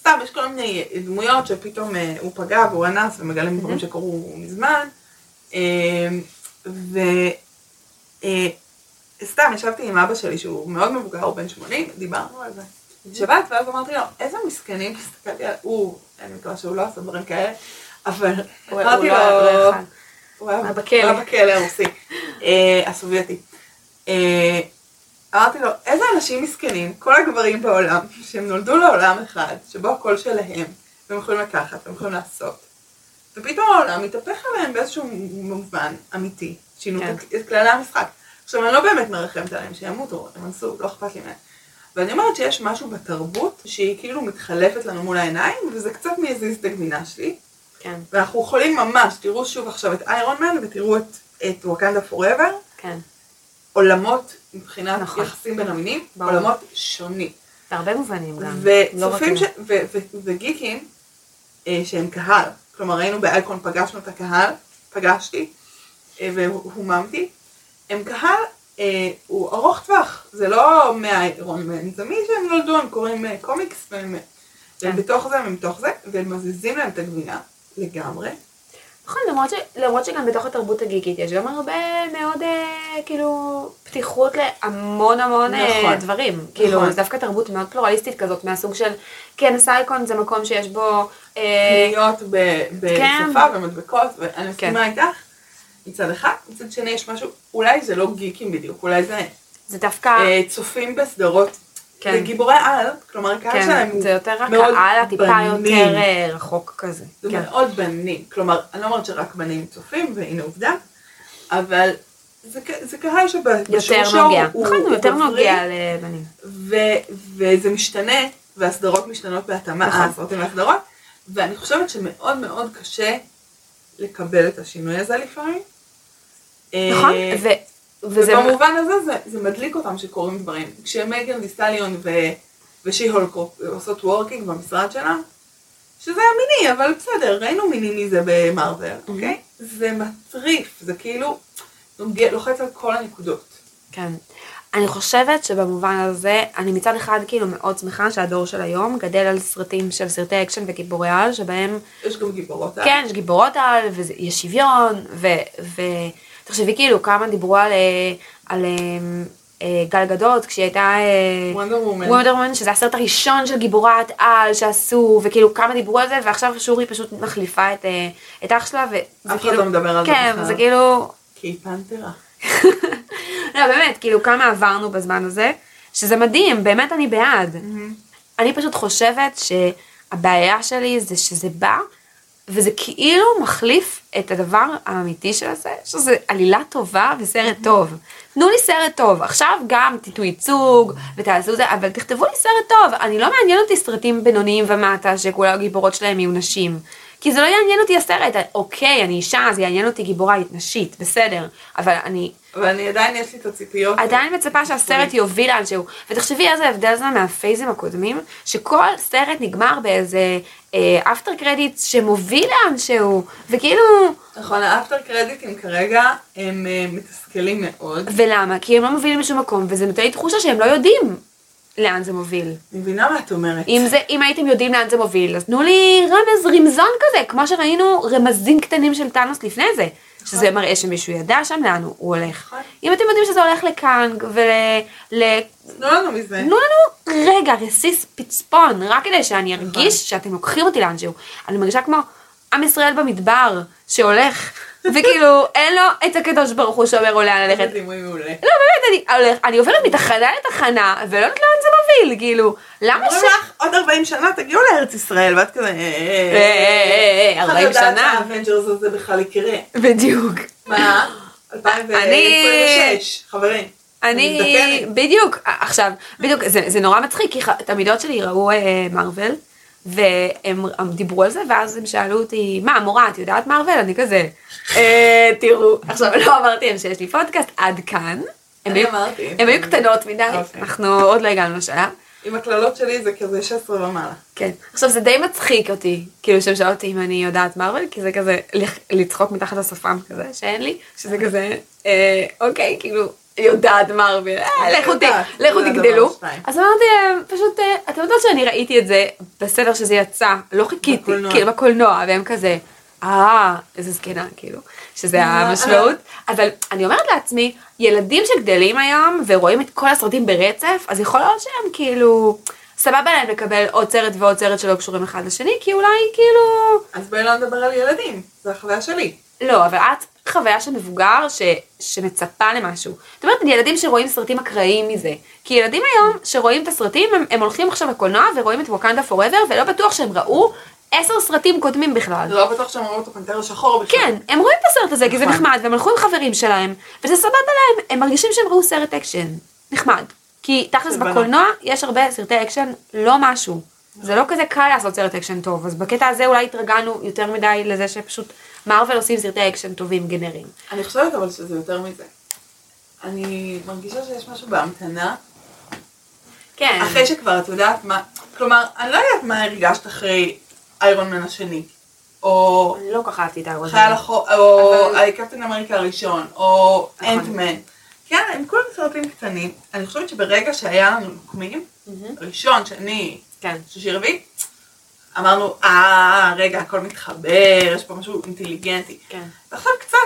Speaker 2: סתם, יש כל מיני דמויות שפתאום אה, הוא פגע והוא אנס ומגלים דברים שקרו מזמן. אמ, וסתם, אה, ישבתי עם אבא שלי שהוא מאוד מבוגר, הוא בן 80, דיברנו על זה. שבת, ואז אמרתי לו, איזה מסכנים, הסתכלתי על... הוא, אני מקווה שהוא לא עשה דברים כאלה, אבל
Speaker 1: הוא-
Speaker 2: אמרתי
Speaker 1: הוא
Speaker 2: לו...
Speaker 1: לא- לא יכל.
Speaker 2: הוא היה
Speaker 1: היה
Speaker 2: בכלא.
Speaker 1: בכלא.
Speaker 2: הוא היה בכלא הרוסי, אה, הסובייטי. אה, אמרתי לו, איזה אנשים מסכנים, כל הגברים בעולם, שהם נולדו לעולם אחד, שבו הכל שלהם, אתם יכולים לקחת, אתם יכולים לעשות. ופתאום העולם מתהפך עליהם באיזשהו מובן אמיתי. שינו
Speaker 1: כן.
Speaker 2: את את כללי המשחק. עכשיו, אני לא באמת מרחמת עליהם, שימותו, הם עשו, לא אכפת לי מהם. ואני אומרת שיש משהו בתרבות שהיא כאילו מתחלפת לנו מול העיניים, וזה קצת מזיז את הגבינה שלי.
Speaker 1: כן,
Speaker 2: ואנחנו יכולים ממש, תראו שוב עכשיו את איירון מן ותראו את, את וואקנדה פוראבר,
Speaker 1: כן.
Speaker 2: עולמות מבחינת
Speaker 1: נכון.
Speaker 2: נכון. יחסים בין המינים,
Speaker 1: ברור.
Speaker 2: עולמות שונים.
Speaker 1: בהרבה מובנים גם. לא רק
Speaker 2: וצופים
Speaker 1: עם-
Speaker 2: ש... ו- ו- וגיקים אה, שהם קהל, כלומר היינו באייקון, פגשנו את הקהל, פגשתי אה, והוממתי, הם קהל אה, הוא ארוך טווח, זה לא מהאיירון מן, זה מי שהם נולדו, הם קוראים אה, קומיקס והם והם
Speaker 1: כן.
Speaker 2: בתוך זה, הם בתוך זה, והם מזיזים להם את הגבינה לגמרי.
Speaker 1: נכון, למרות, ש... למרות שגם בתוך התרבות הגיקית יש גם הרבה מאוד, אה, כאילו, פתיחות להמון המון אה,
Speaker 2: נכון.
Speaker 1: דברים. כאילו,
Speaker 2: נכון.
Speaker 1: זה דווקא תרבות מאוד פלורליסטית כזאת, מהסוג של, כן, סייקון זה מקום שיש בו... אה,
Speaker 2: להיות ב-
Speaker 1: כן.
Speaker 2: בשפה ומדבקות, ואני מסכימה איתך. מצד אחד, מצד שני יש משהו, אולי זה לא גיקים בדיוק, אולי זה
Speaker 1: זה דווקא...
Speaker 2: אה, צופים בסדרות.
Speaker 1: כן.
Speaker 2: זה גיבורי על, כלומר הקהל שלהם
Speaker 1: כן,
Speaker 2: הוא
Speaker 1: זה יותר
Speaker 2: מאוד
Speaker 1: הקהל הטיפה
Speaker 2: בנים.
Speaker 1: יותר אה, רחוק כזה.
Speaker 2: זה
Speaker 1: כן.
Speaker 2: מאוד בנים. כלומר, אני לא אומרת שרק בנים צופים, והנה עובדה, אבל זה, ק- זה קהל
Speaker 1: יותר
Speaker 2: שבשורשו
Speaker 1: נוגע. נכון, הוא יותר
Speaker 2: גברי,
Speaker 1: נוגע לבנים.
Speaker 2: ו- וזה משתנה, והסדרות משתנות בהתאמה, אה,
Speaker 1: נכון.
Speaker 2: הסרטים והסדרות, ואני חושבת שמאוד מאוד קשה לקבל את השינוי הזה לפעמים.
Speaker 1: נכון?
Speaker 2: אה,
Speaker 1: ו... וזה...
Speaker 2: ובמובן הזה זה, זה מדליק אותם שקורים דברים. כשמייגן דיסטליון ו... ושי הולק עושות וורקינג במשרד שלה, שזה היה מיני, אבל בסדר, ראינו מיני מזה במרוויל, אוקיי? זה מטריף, זה כאילו נוגע- לוחץ על כל הנקודות.
Speaker 1: כן. אני חושבת שבמובן הזה, אני מצד אחד כאילו מאוד שמחה שהדור של היום גדל על סרטים של סרטי אקשן וגיבורי על, שבהם,
Speaker 2: יש גם גיבורות. אה?
Speaker 1: כן, יש גיבורות על, ויש שוויון, ו... ו... תחשבי כאילו כמה דיברו על, אה, על אה, אה, גל גדות כשהיא הייתה... אה,
Speaker 2: וונדר וומן.
Speaker 1: וונדר וומן, שזה הסרט הראשון של גיבורת על שעשו, וכאילו כמה דיברו על זה, ועכשיו שורי פשוט מחליפה את, אה, את אח שלה, וזה
Speaker 2: אחד
Speaker 1: כאילו...
Speaker 2: לא מדבר על זה
Speaker 1: כן,
Speaker 2: בכלל.
Speaker 1: זה כאילו...
Speaker 2: כי היא פנתרה.
Speaker 1: לא, באמת, כאילו, כמה עברנו בזמן הזה, שזה מדהים, באמת אני בעד. אני פשוט חושבת שהבעיה שלי זה שזה בא, וזה כאילו מחליף את הדבר האמיתי של זה, שזה עלילה טובה וסרט טוב. תנו לי סרט טוב, עכשיו גם תיתנו ייצוג ותעשו זה, אבל תכתבו לי סרט טוב. אני לא מעניין אותי סרטים בינוניים ומטה שכולם הגיבורות שלהם יהיו נשים. כי זה לא יעניין אותי הסרט, אוקיי, אני אישה, זה יעניין אותי גיבורה נשית, בסדר, אבל אני
Speaker 2: אבל אני עדיין יש לי את הציפיות.
Speaker 1: עדיין מצפה שהסרט יוביל לאנשהו. ותחשבי איזה הבדל זה מהפייזים הקודמים, שכל סרט נגמר באיזה אפטר קרדיט שמוביל לאנשהו, וכאילו,
Speaker 2: נכון, האפטר קרדיטים כרגע הם אה, מתסכלים מאוד.
Speaker 1: ולמה? כי הם לא מובילים לשום מקום, וזה נותן לי תחושה שהם לא יודעים לאן זה מוביל.
Speaker 2: אני מבינה מה את אומרת.
Speaker 1: אם, זה, אם הייתם יודעים לאן זה מוביל, אז תנו לי רמז, רמזון כזה, כמו שראינו רמזים קטנים של טאנוס לפני זה. שזה מראה שמישהו ידע שם לאן הוא הוא הולך.
Speaker 2: נכון.
Speaker 1: אם אתם יודעים שזה הולך לקאנג ול...
Speaker 2: תנו לנו מזה.
Speaker 1: תנו לנו רגע רסיס פצפון, רק כדי שאני ארגיש שאתם לוקחים אותי לאנשהו. אני מרגישה כמו עם ישראל במדבר שהולך, וכאילו אין לו את הקדוש ברוך הוא שאומר לו לאן ללכת.
Speaker 2: זה דימוי מעולה.
Speaker 1: לא, באמת, אני, הולך, אני עוברת מתחנה לתחנה, ולא יודעת לאן זה מוביל, כאילו, למה ש...
Speaker 2: אומרים לך, עוד 40 שנה תגיעו לארץ ישראל, ואת כזה... אה, אה,
Speaker 1: אה, אה, אה, 40 שנה.
Speaker 2: האבנג'רס הזה בכלל יקרה.
Speaker 1: בדיוק.
Speaker 2: מה? 2026, חברים.
Speaker 1: אני,
Speaker 2: מזדקנת.
Speaker 1: בדיוק, עכשיו, בדיוק, זה, זה נורא מצחיק, כי ח- תלמידות שלי ראו אה, מארוול, והם הם דיברו על זה, ואז הם שאלו אותי, מה, מורה, את יודעת מארוול? אני כזה, אה, תראו, עכשיו, לא אמרתי להם שיש לי פודקאסט עד כאן, הם
Speaker 2: אני
Speaker 1: היו-
Speaker 2: אמרתי.
Speaker 1: הם היו קטנות מדי,
Speaker 2: אוקיי.
Speaker 1: אנחנו עוד לא הגענו לשלב.
Speaker 2: עם הקללות שלי זה כזה 16 ומעלה.
Speaker 1: כן. עכשיו, זה די מצחיק אותי, כאילו, שהם שאלו אותי אם אני יודעת מארוול, כי זה כזה לח- לצחוק מתחת לשפם כזה, שאין לי, שזה כזה, אה, אוקיי, כאילו, יודעת מארוול, אה,
Speaker 2: אני
Speaker 1: לכו ת-
Speaker 2: יודעת,
Speaker 1: לכו
Speaker 2: זה הדבר
Speaker 1: תגדלו.
Speaker 2: השתיים.
Speaker 1: אז אמרתי להם, פשוט, אה, אתם יודעות שאני ראיתי את זה בסדר שזה יצא, לא חיכיתי,
Speaker 2: בקולנוע.
Speaker 1: כאילו, בקולנוע, והם כזה, אה, איזה זקנה, כאילו, שזה המשמעות. אבל אני אומרת לעצמי, ילדים שגדלים היום ורואים את כל הסרטים ברצף, אז יכול להיות שהם כאילו, סבבה להם לקבל עוד סרט ועוד סרט שלא קשורים אחד לשני, כי אולי כאילו...
Speaker 2: אז בואי לא נדבר על ילדים, זו החוויה שלי.
Speaker 1: לא, אבל את חוויה של מבוגר ש, שמצפה למשהו. זאת אומרת, ילדים שרואים סרטים אקראיים מזה. כי ילדים היום שרואים את הסרטים, הם, הם הולכים עכשיו לקולנוע ורואים את ווקנדה פוראבר, ולא בטוח שהם ראו עשר סרטים קודמים בכלל.
Speaker 2: לא בטוח שהם ראו את הפנתר השחור בכלל.
Speaker 1: כן, הם רואים את הסרט הזה כי זה
Speaker 2: נכון.
Speaker 1: נחמד, והם הלכו עם חברים שלהם, וזה סבבה להם, הם מרגישים שהם ראו סרט אקשן. נחמד. כי תכלס
Speaker 2: של בנות.
Speaker 1: בקולנוע יש הרבה סרטי אקשן לא משהו. זה לא כזה קל לעשות סרט אקשן טוב, אז בקטע הזה אולי התרגלנו יותר מדי לזה שפשוט מארוול עושים סרטי אקשן טובים גנריים.
Speaker 2: אני חושבת אבל שזה יותר מזה. אני מרגישה שיש משהו בהמתנה,
Speaker 1: כן.
Speaker 2: אחרי שכבר את יודעת מה, כלומר, אני לא יודעת מה הרגשת אחרי איירון מן השני, או
Speaker 1: אני לא כל כך אהבתי את הארוז.
Speaker 2: חייל החור, או
Speaker 1: אבל-
Speaker 2: אה, קפטן אמריקה הראשון, או
Speaker 1: נכון.
Speaker 2: אנטמן. כן, הם כולם סרטים קטנים. אני חושבת שברגע שהיה לנו נוקמים,
Speaker 1: Mm-hmm.
Speaker 2: ראשון, שני,
Speaker 1: כן.
Speaker 2: שלישי, רביעי, אמרנו, אה, רגע, הכל מתחבר, יש פה משהו אינטליגנטי.
Speaker 1: כן.
Speaker 2: עכשיו קצת,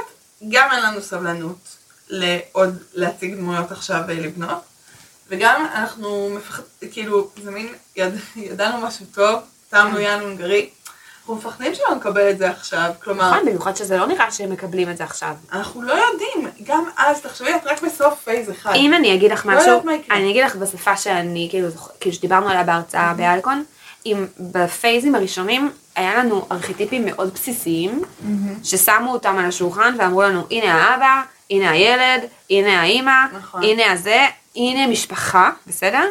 Speaker 2: גם אין לנו סבלנות לעוד להציג דמויות עכשיו ולבנות, וגם אנחנו מפחדים, כאילו, זה מין, יד, ידענו משהו טוב, שמנו יען הונגרי, אנחנו מפחדים שלא נקבל את זה עכשיו, כלומר,
Speaker 1: נכון, במיוחד שזה לא נראה שהם מקבלים את זה עכשיו.
Speaker 2: אנחנו לא יודעים, גם אז, תחשבי, את רק בסוף פייז אחד.
Speaker 1: אם אני אגיד לך
Speaker 2: לא
Speaker 1: משהו,
Speaker 2: יודעת מה יקרה.
Speaker 1: אני אגיד לך בשפה שאני, כאילו, זוכ- כאילו שדיברנו עליה בהרצאה באלקון, אם בפייזים הראשונים היה לנו ארכיטיפים מאוד בסיסיים, ששמו אותם על השולחן ואמרו לנו, הנה האבא, הנה הילד, הנה האימא,
Speaker 2: נכון.
Speaker 1: הנה הזה, הנה משפחה, בסדר?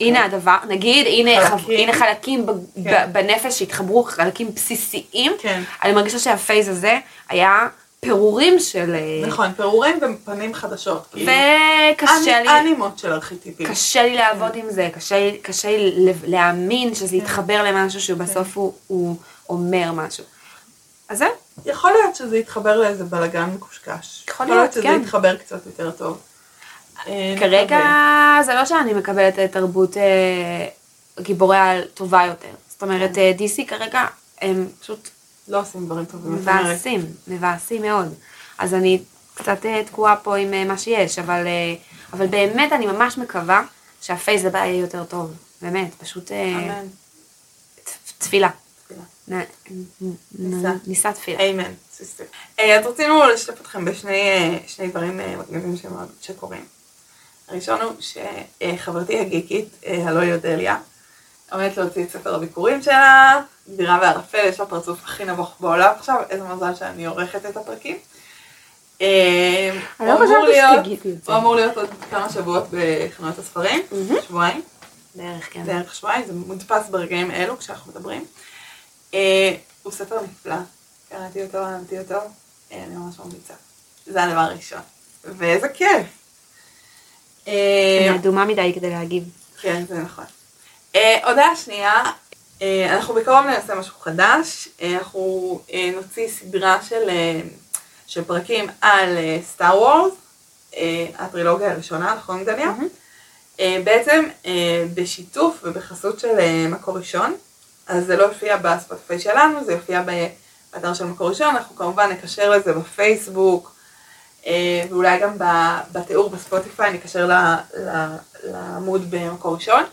Speaker 1: הנה הדבר, נגיד, הנה חב-
Speaker 2: אוקיי. חלקים.
Speaker 1: הנה חלקים ב- ב- בנפש שהתחברו, חלקים בסיסיים.
Speaker 2: כן.
Speaker 1: אני מרגישה שהפייז הזה היה פירורים של... אה,
Speaker 2: נכון, פירורים ופנים חדשות, כאילו.
Speaker 1: וקשה לי...
Speaker 2: אנ- אנימות של ארכיטיפים.
Speaker 1: קשה לי לעבוד עם זה, קשה לי, קשה לי לב- להאמין
Speaker 2: כן.
Speaker 1: שזה יתחבר למשהו שבסוף הוא, הוא אומר משהו. אז זהו,
Speaker 2: יכול להיות שזה יתחבר לאיזה בלאגן מקושקש.
Speaker 1: יכול
Speaker 2: יכול להיות
Speaker 1: להיות,
Speaker 2: שזה
Speaker 1: כן.
Speaker 2: יתחבר קצת יותר טוב. אה,
Speaker 1: כרגע
Speaker 2: נקווה.
Speaker 1: זה לא שאני מקבלת אה, תרבות אה, גיבורי על טובה יותר. זאת
Speaker 2: כן.
Speaker 1: אומרת, אה, DC כרגע הם פשוט
Speaker 2: לא עושים דברים טובים. את אומרת.
Speaker 1: מבאסים, מבאסים מאוד. אז אני קצת אה, תקועה פה עם אה, מה שיש, אבל, אה, אבל באמת אני ממש מקווה שהפייס הבא יהיה יותר טוב. באמת, פשוט אה,
Speaker 2: אמן.
Speaker 1: ת- תפילה.
Speaker 2: תפילה.
Speaker 1: נ- נ-
Speaker 2: ניסה.
Speaker 1: ניסה תפילה.
Speaker 2: אמן. סיסטר. אה, אז רצינו לשתף אתכם בשני אה, שני דברים אה, מגניבים שמאוד- שקורים. הראשון הוא שחברתי הגיקית, אה, הלא היא אודליה, עומדת להוציא את ספר הביקורים שלה, גבירה וערפל, יש לה פרצוף הכי נבוך בעולם עכשיו, איזה מזל שאני עורכת את הפרקים. אה,
Speaker 1: אני לא
Speaker 2: הוא אמור
Speaker 1: חשבתי
Speaker 2: להיות-
Speaker 1: שתגידי את זה.
Speaker 2: הוא אמור להיות עוד כמה שבועות בחנויות הספרים,
Speaker 1: מהמם.
Speaker 2: שבועיים.
Speaker 1: בערך, כן.
Speaker 2: בערך שבועיים, זה מודפס ברגעים אלו כשאנחנו מדברים. אה, הוא ספר נפלא, קראתי אותו, אהבתי אותו, אה, אני ממש ממליצה. זה הדבר הראשון. ואיזה כיף. אה,
Speaker 1: אני אדומה מדי כדי להגיב.
Speaker 2: כן, זה נכון. אה, הודעה שנייה, אה, אנחנו בקרוב ננסה משהו חדש, אה, אנחנו אה, נוציא סדרה של, אה, של פרקים על אה, סטאר וורס, אה, הטרילוגיה הראשונה, נכון גדליה?
Speaker 1: מהמם.
Speaker 2: אה, בעצם אה, בשיתוף ובחסות של אה, מקור ראשון, אז זה לא יופיע בספוטיפיי שלנו, זה יופיע באתר של מקור ראשון, אנחנו כמובן נקשר לזה בפייסבוק, אה, ואולי גם ב- בתיאור בספוטיפיי נקשר ל- ל- לעמוד במקור ראשון.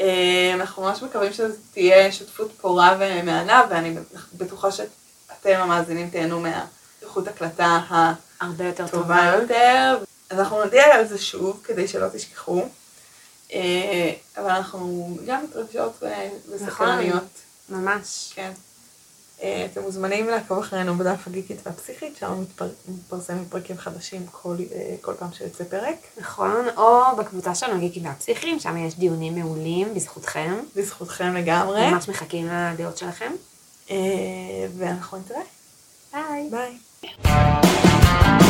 Speaker 2: אה, אנחנו ממש מקווים שזו תהיה שותפות פורה ומהנה, ואני בטוחה שאתם המאזינים תהנו מהאיכות הקלטה
Speaker 1: הרבה יותר
Speaker 2: הטובה יותר. אז אנחנו נודיע על זה שוב, כדי שלא תשכחו. אה, אבל אנחנו גם מתרגשות ו- וסקרניות.
Speaker 1: ממש.
Speaker 2: כן. אה, אתם מוזמנים לעקוב אחרינו בדף הגיקית והפסיכית, שם מתפר- מתפרסמים פרקים חדשים כל, אה, כל פעם שיוצא פרק.
Speaker 1: נכון, או בקבוצה שלנו, גיקים והפסיכים, שם יש דיונים מעולים בזכותכם.
Speaker 2: בזכותכם לגמרי.
Speaker 1: ממש מחכים לדעות שלכם.
Speaker 2: אה, ואנחנו נתראה.
Speaker 1: ביי.
Speaker 2: ביי.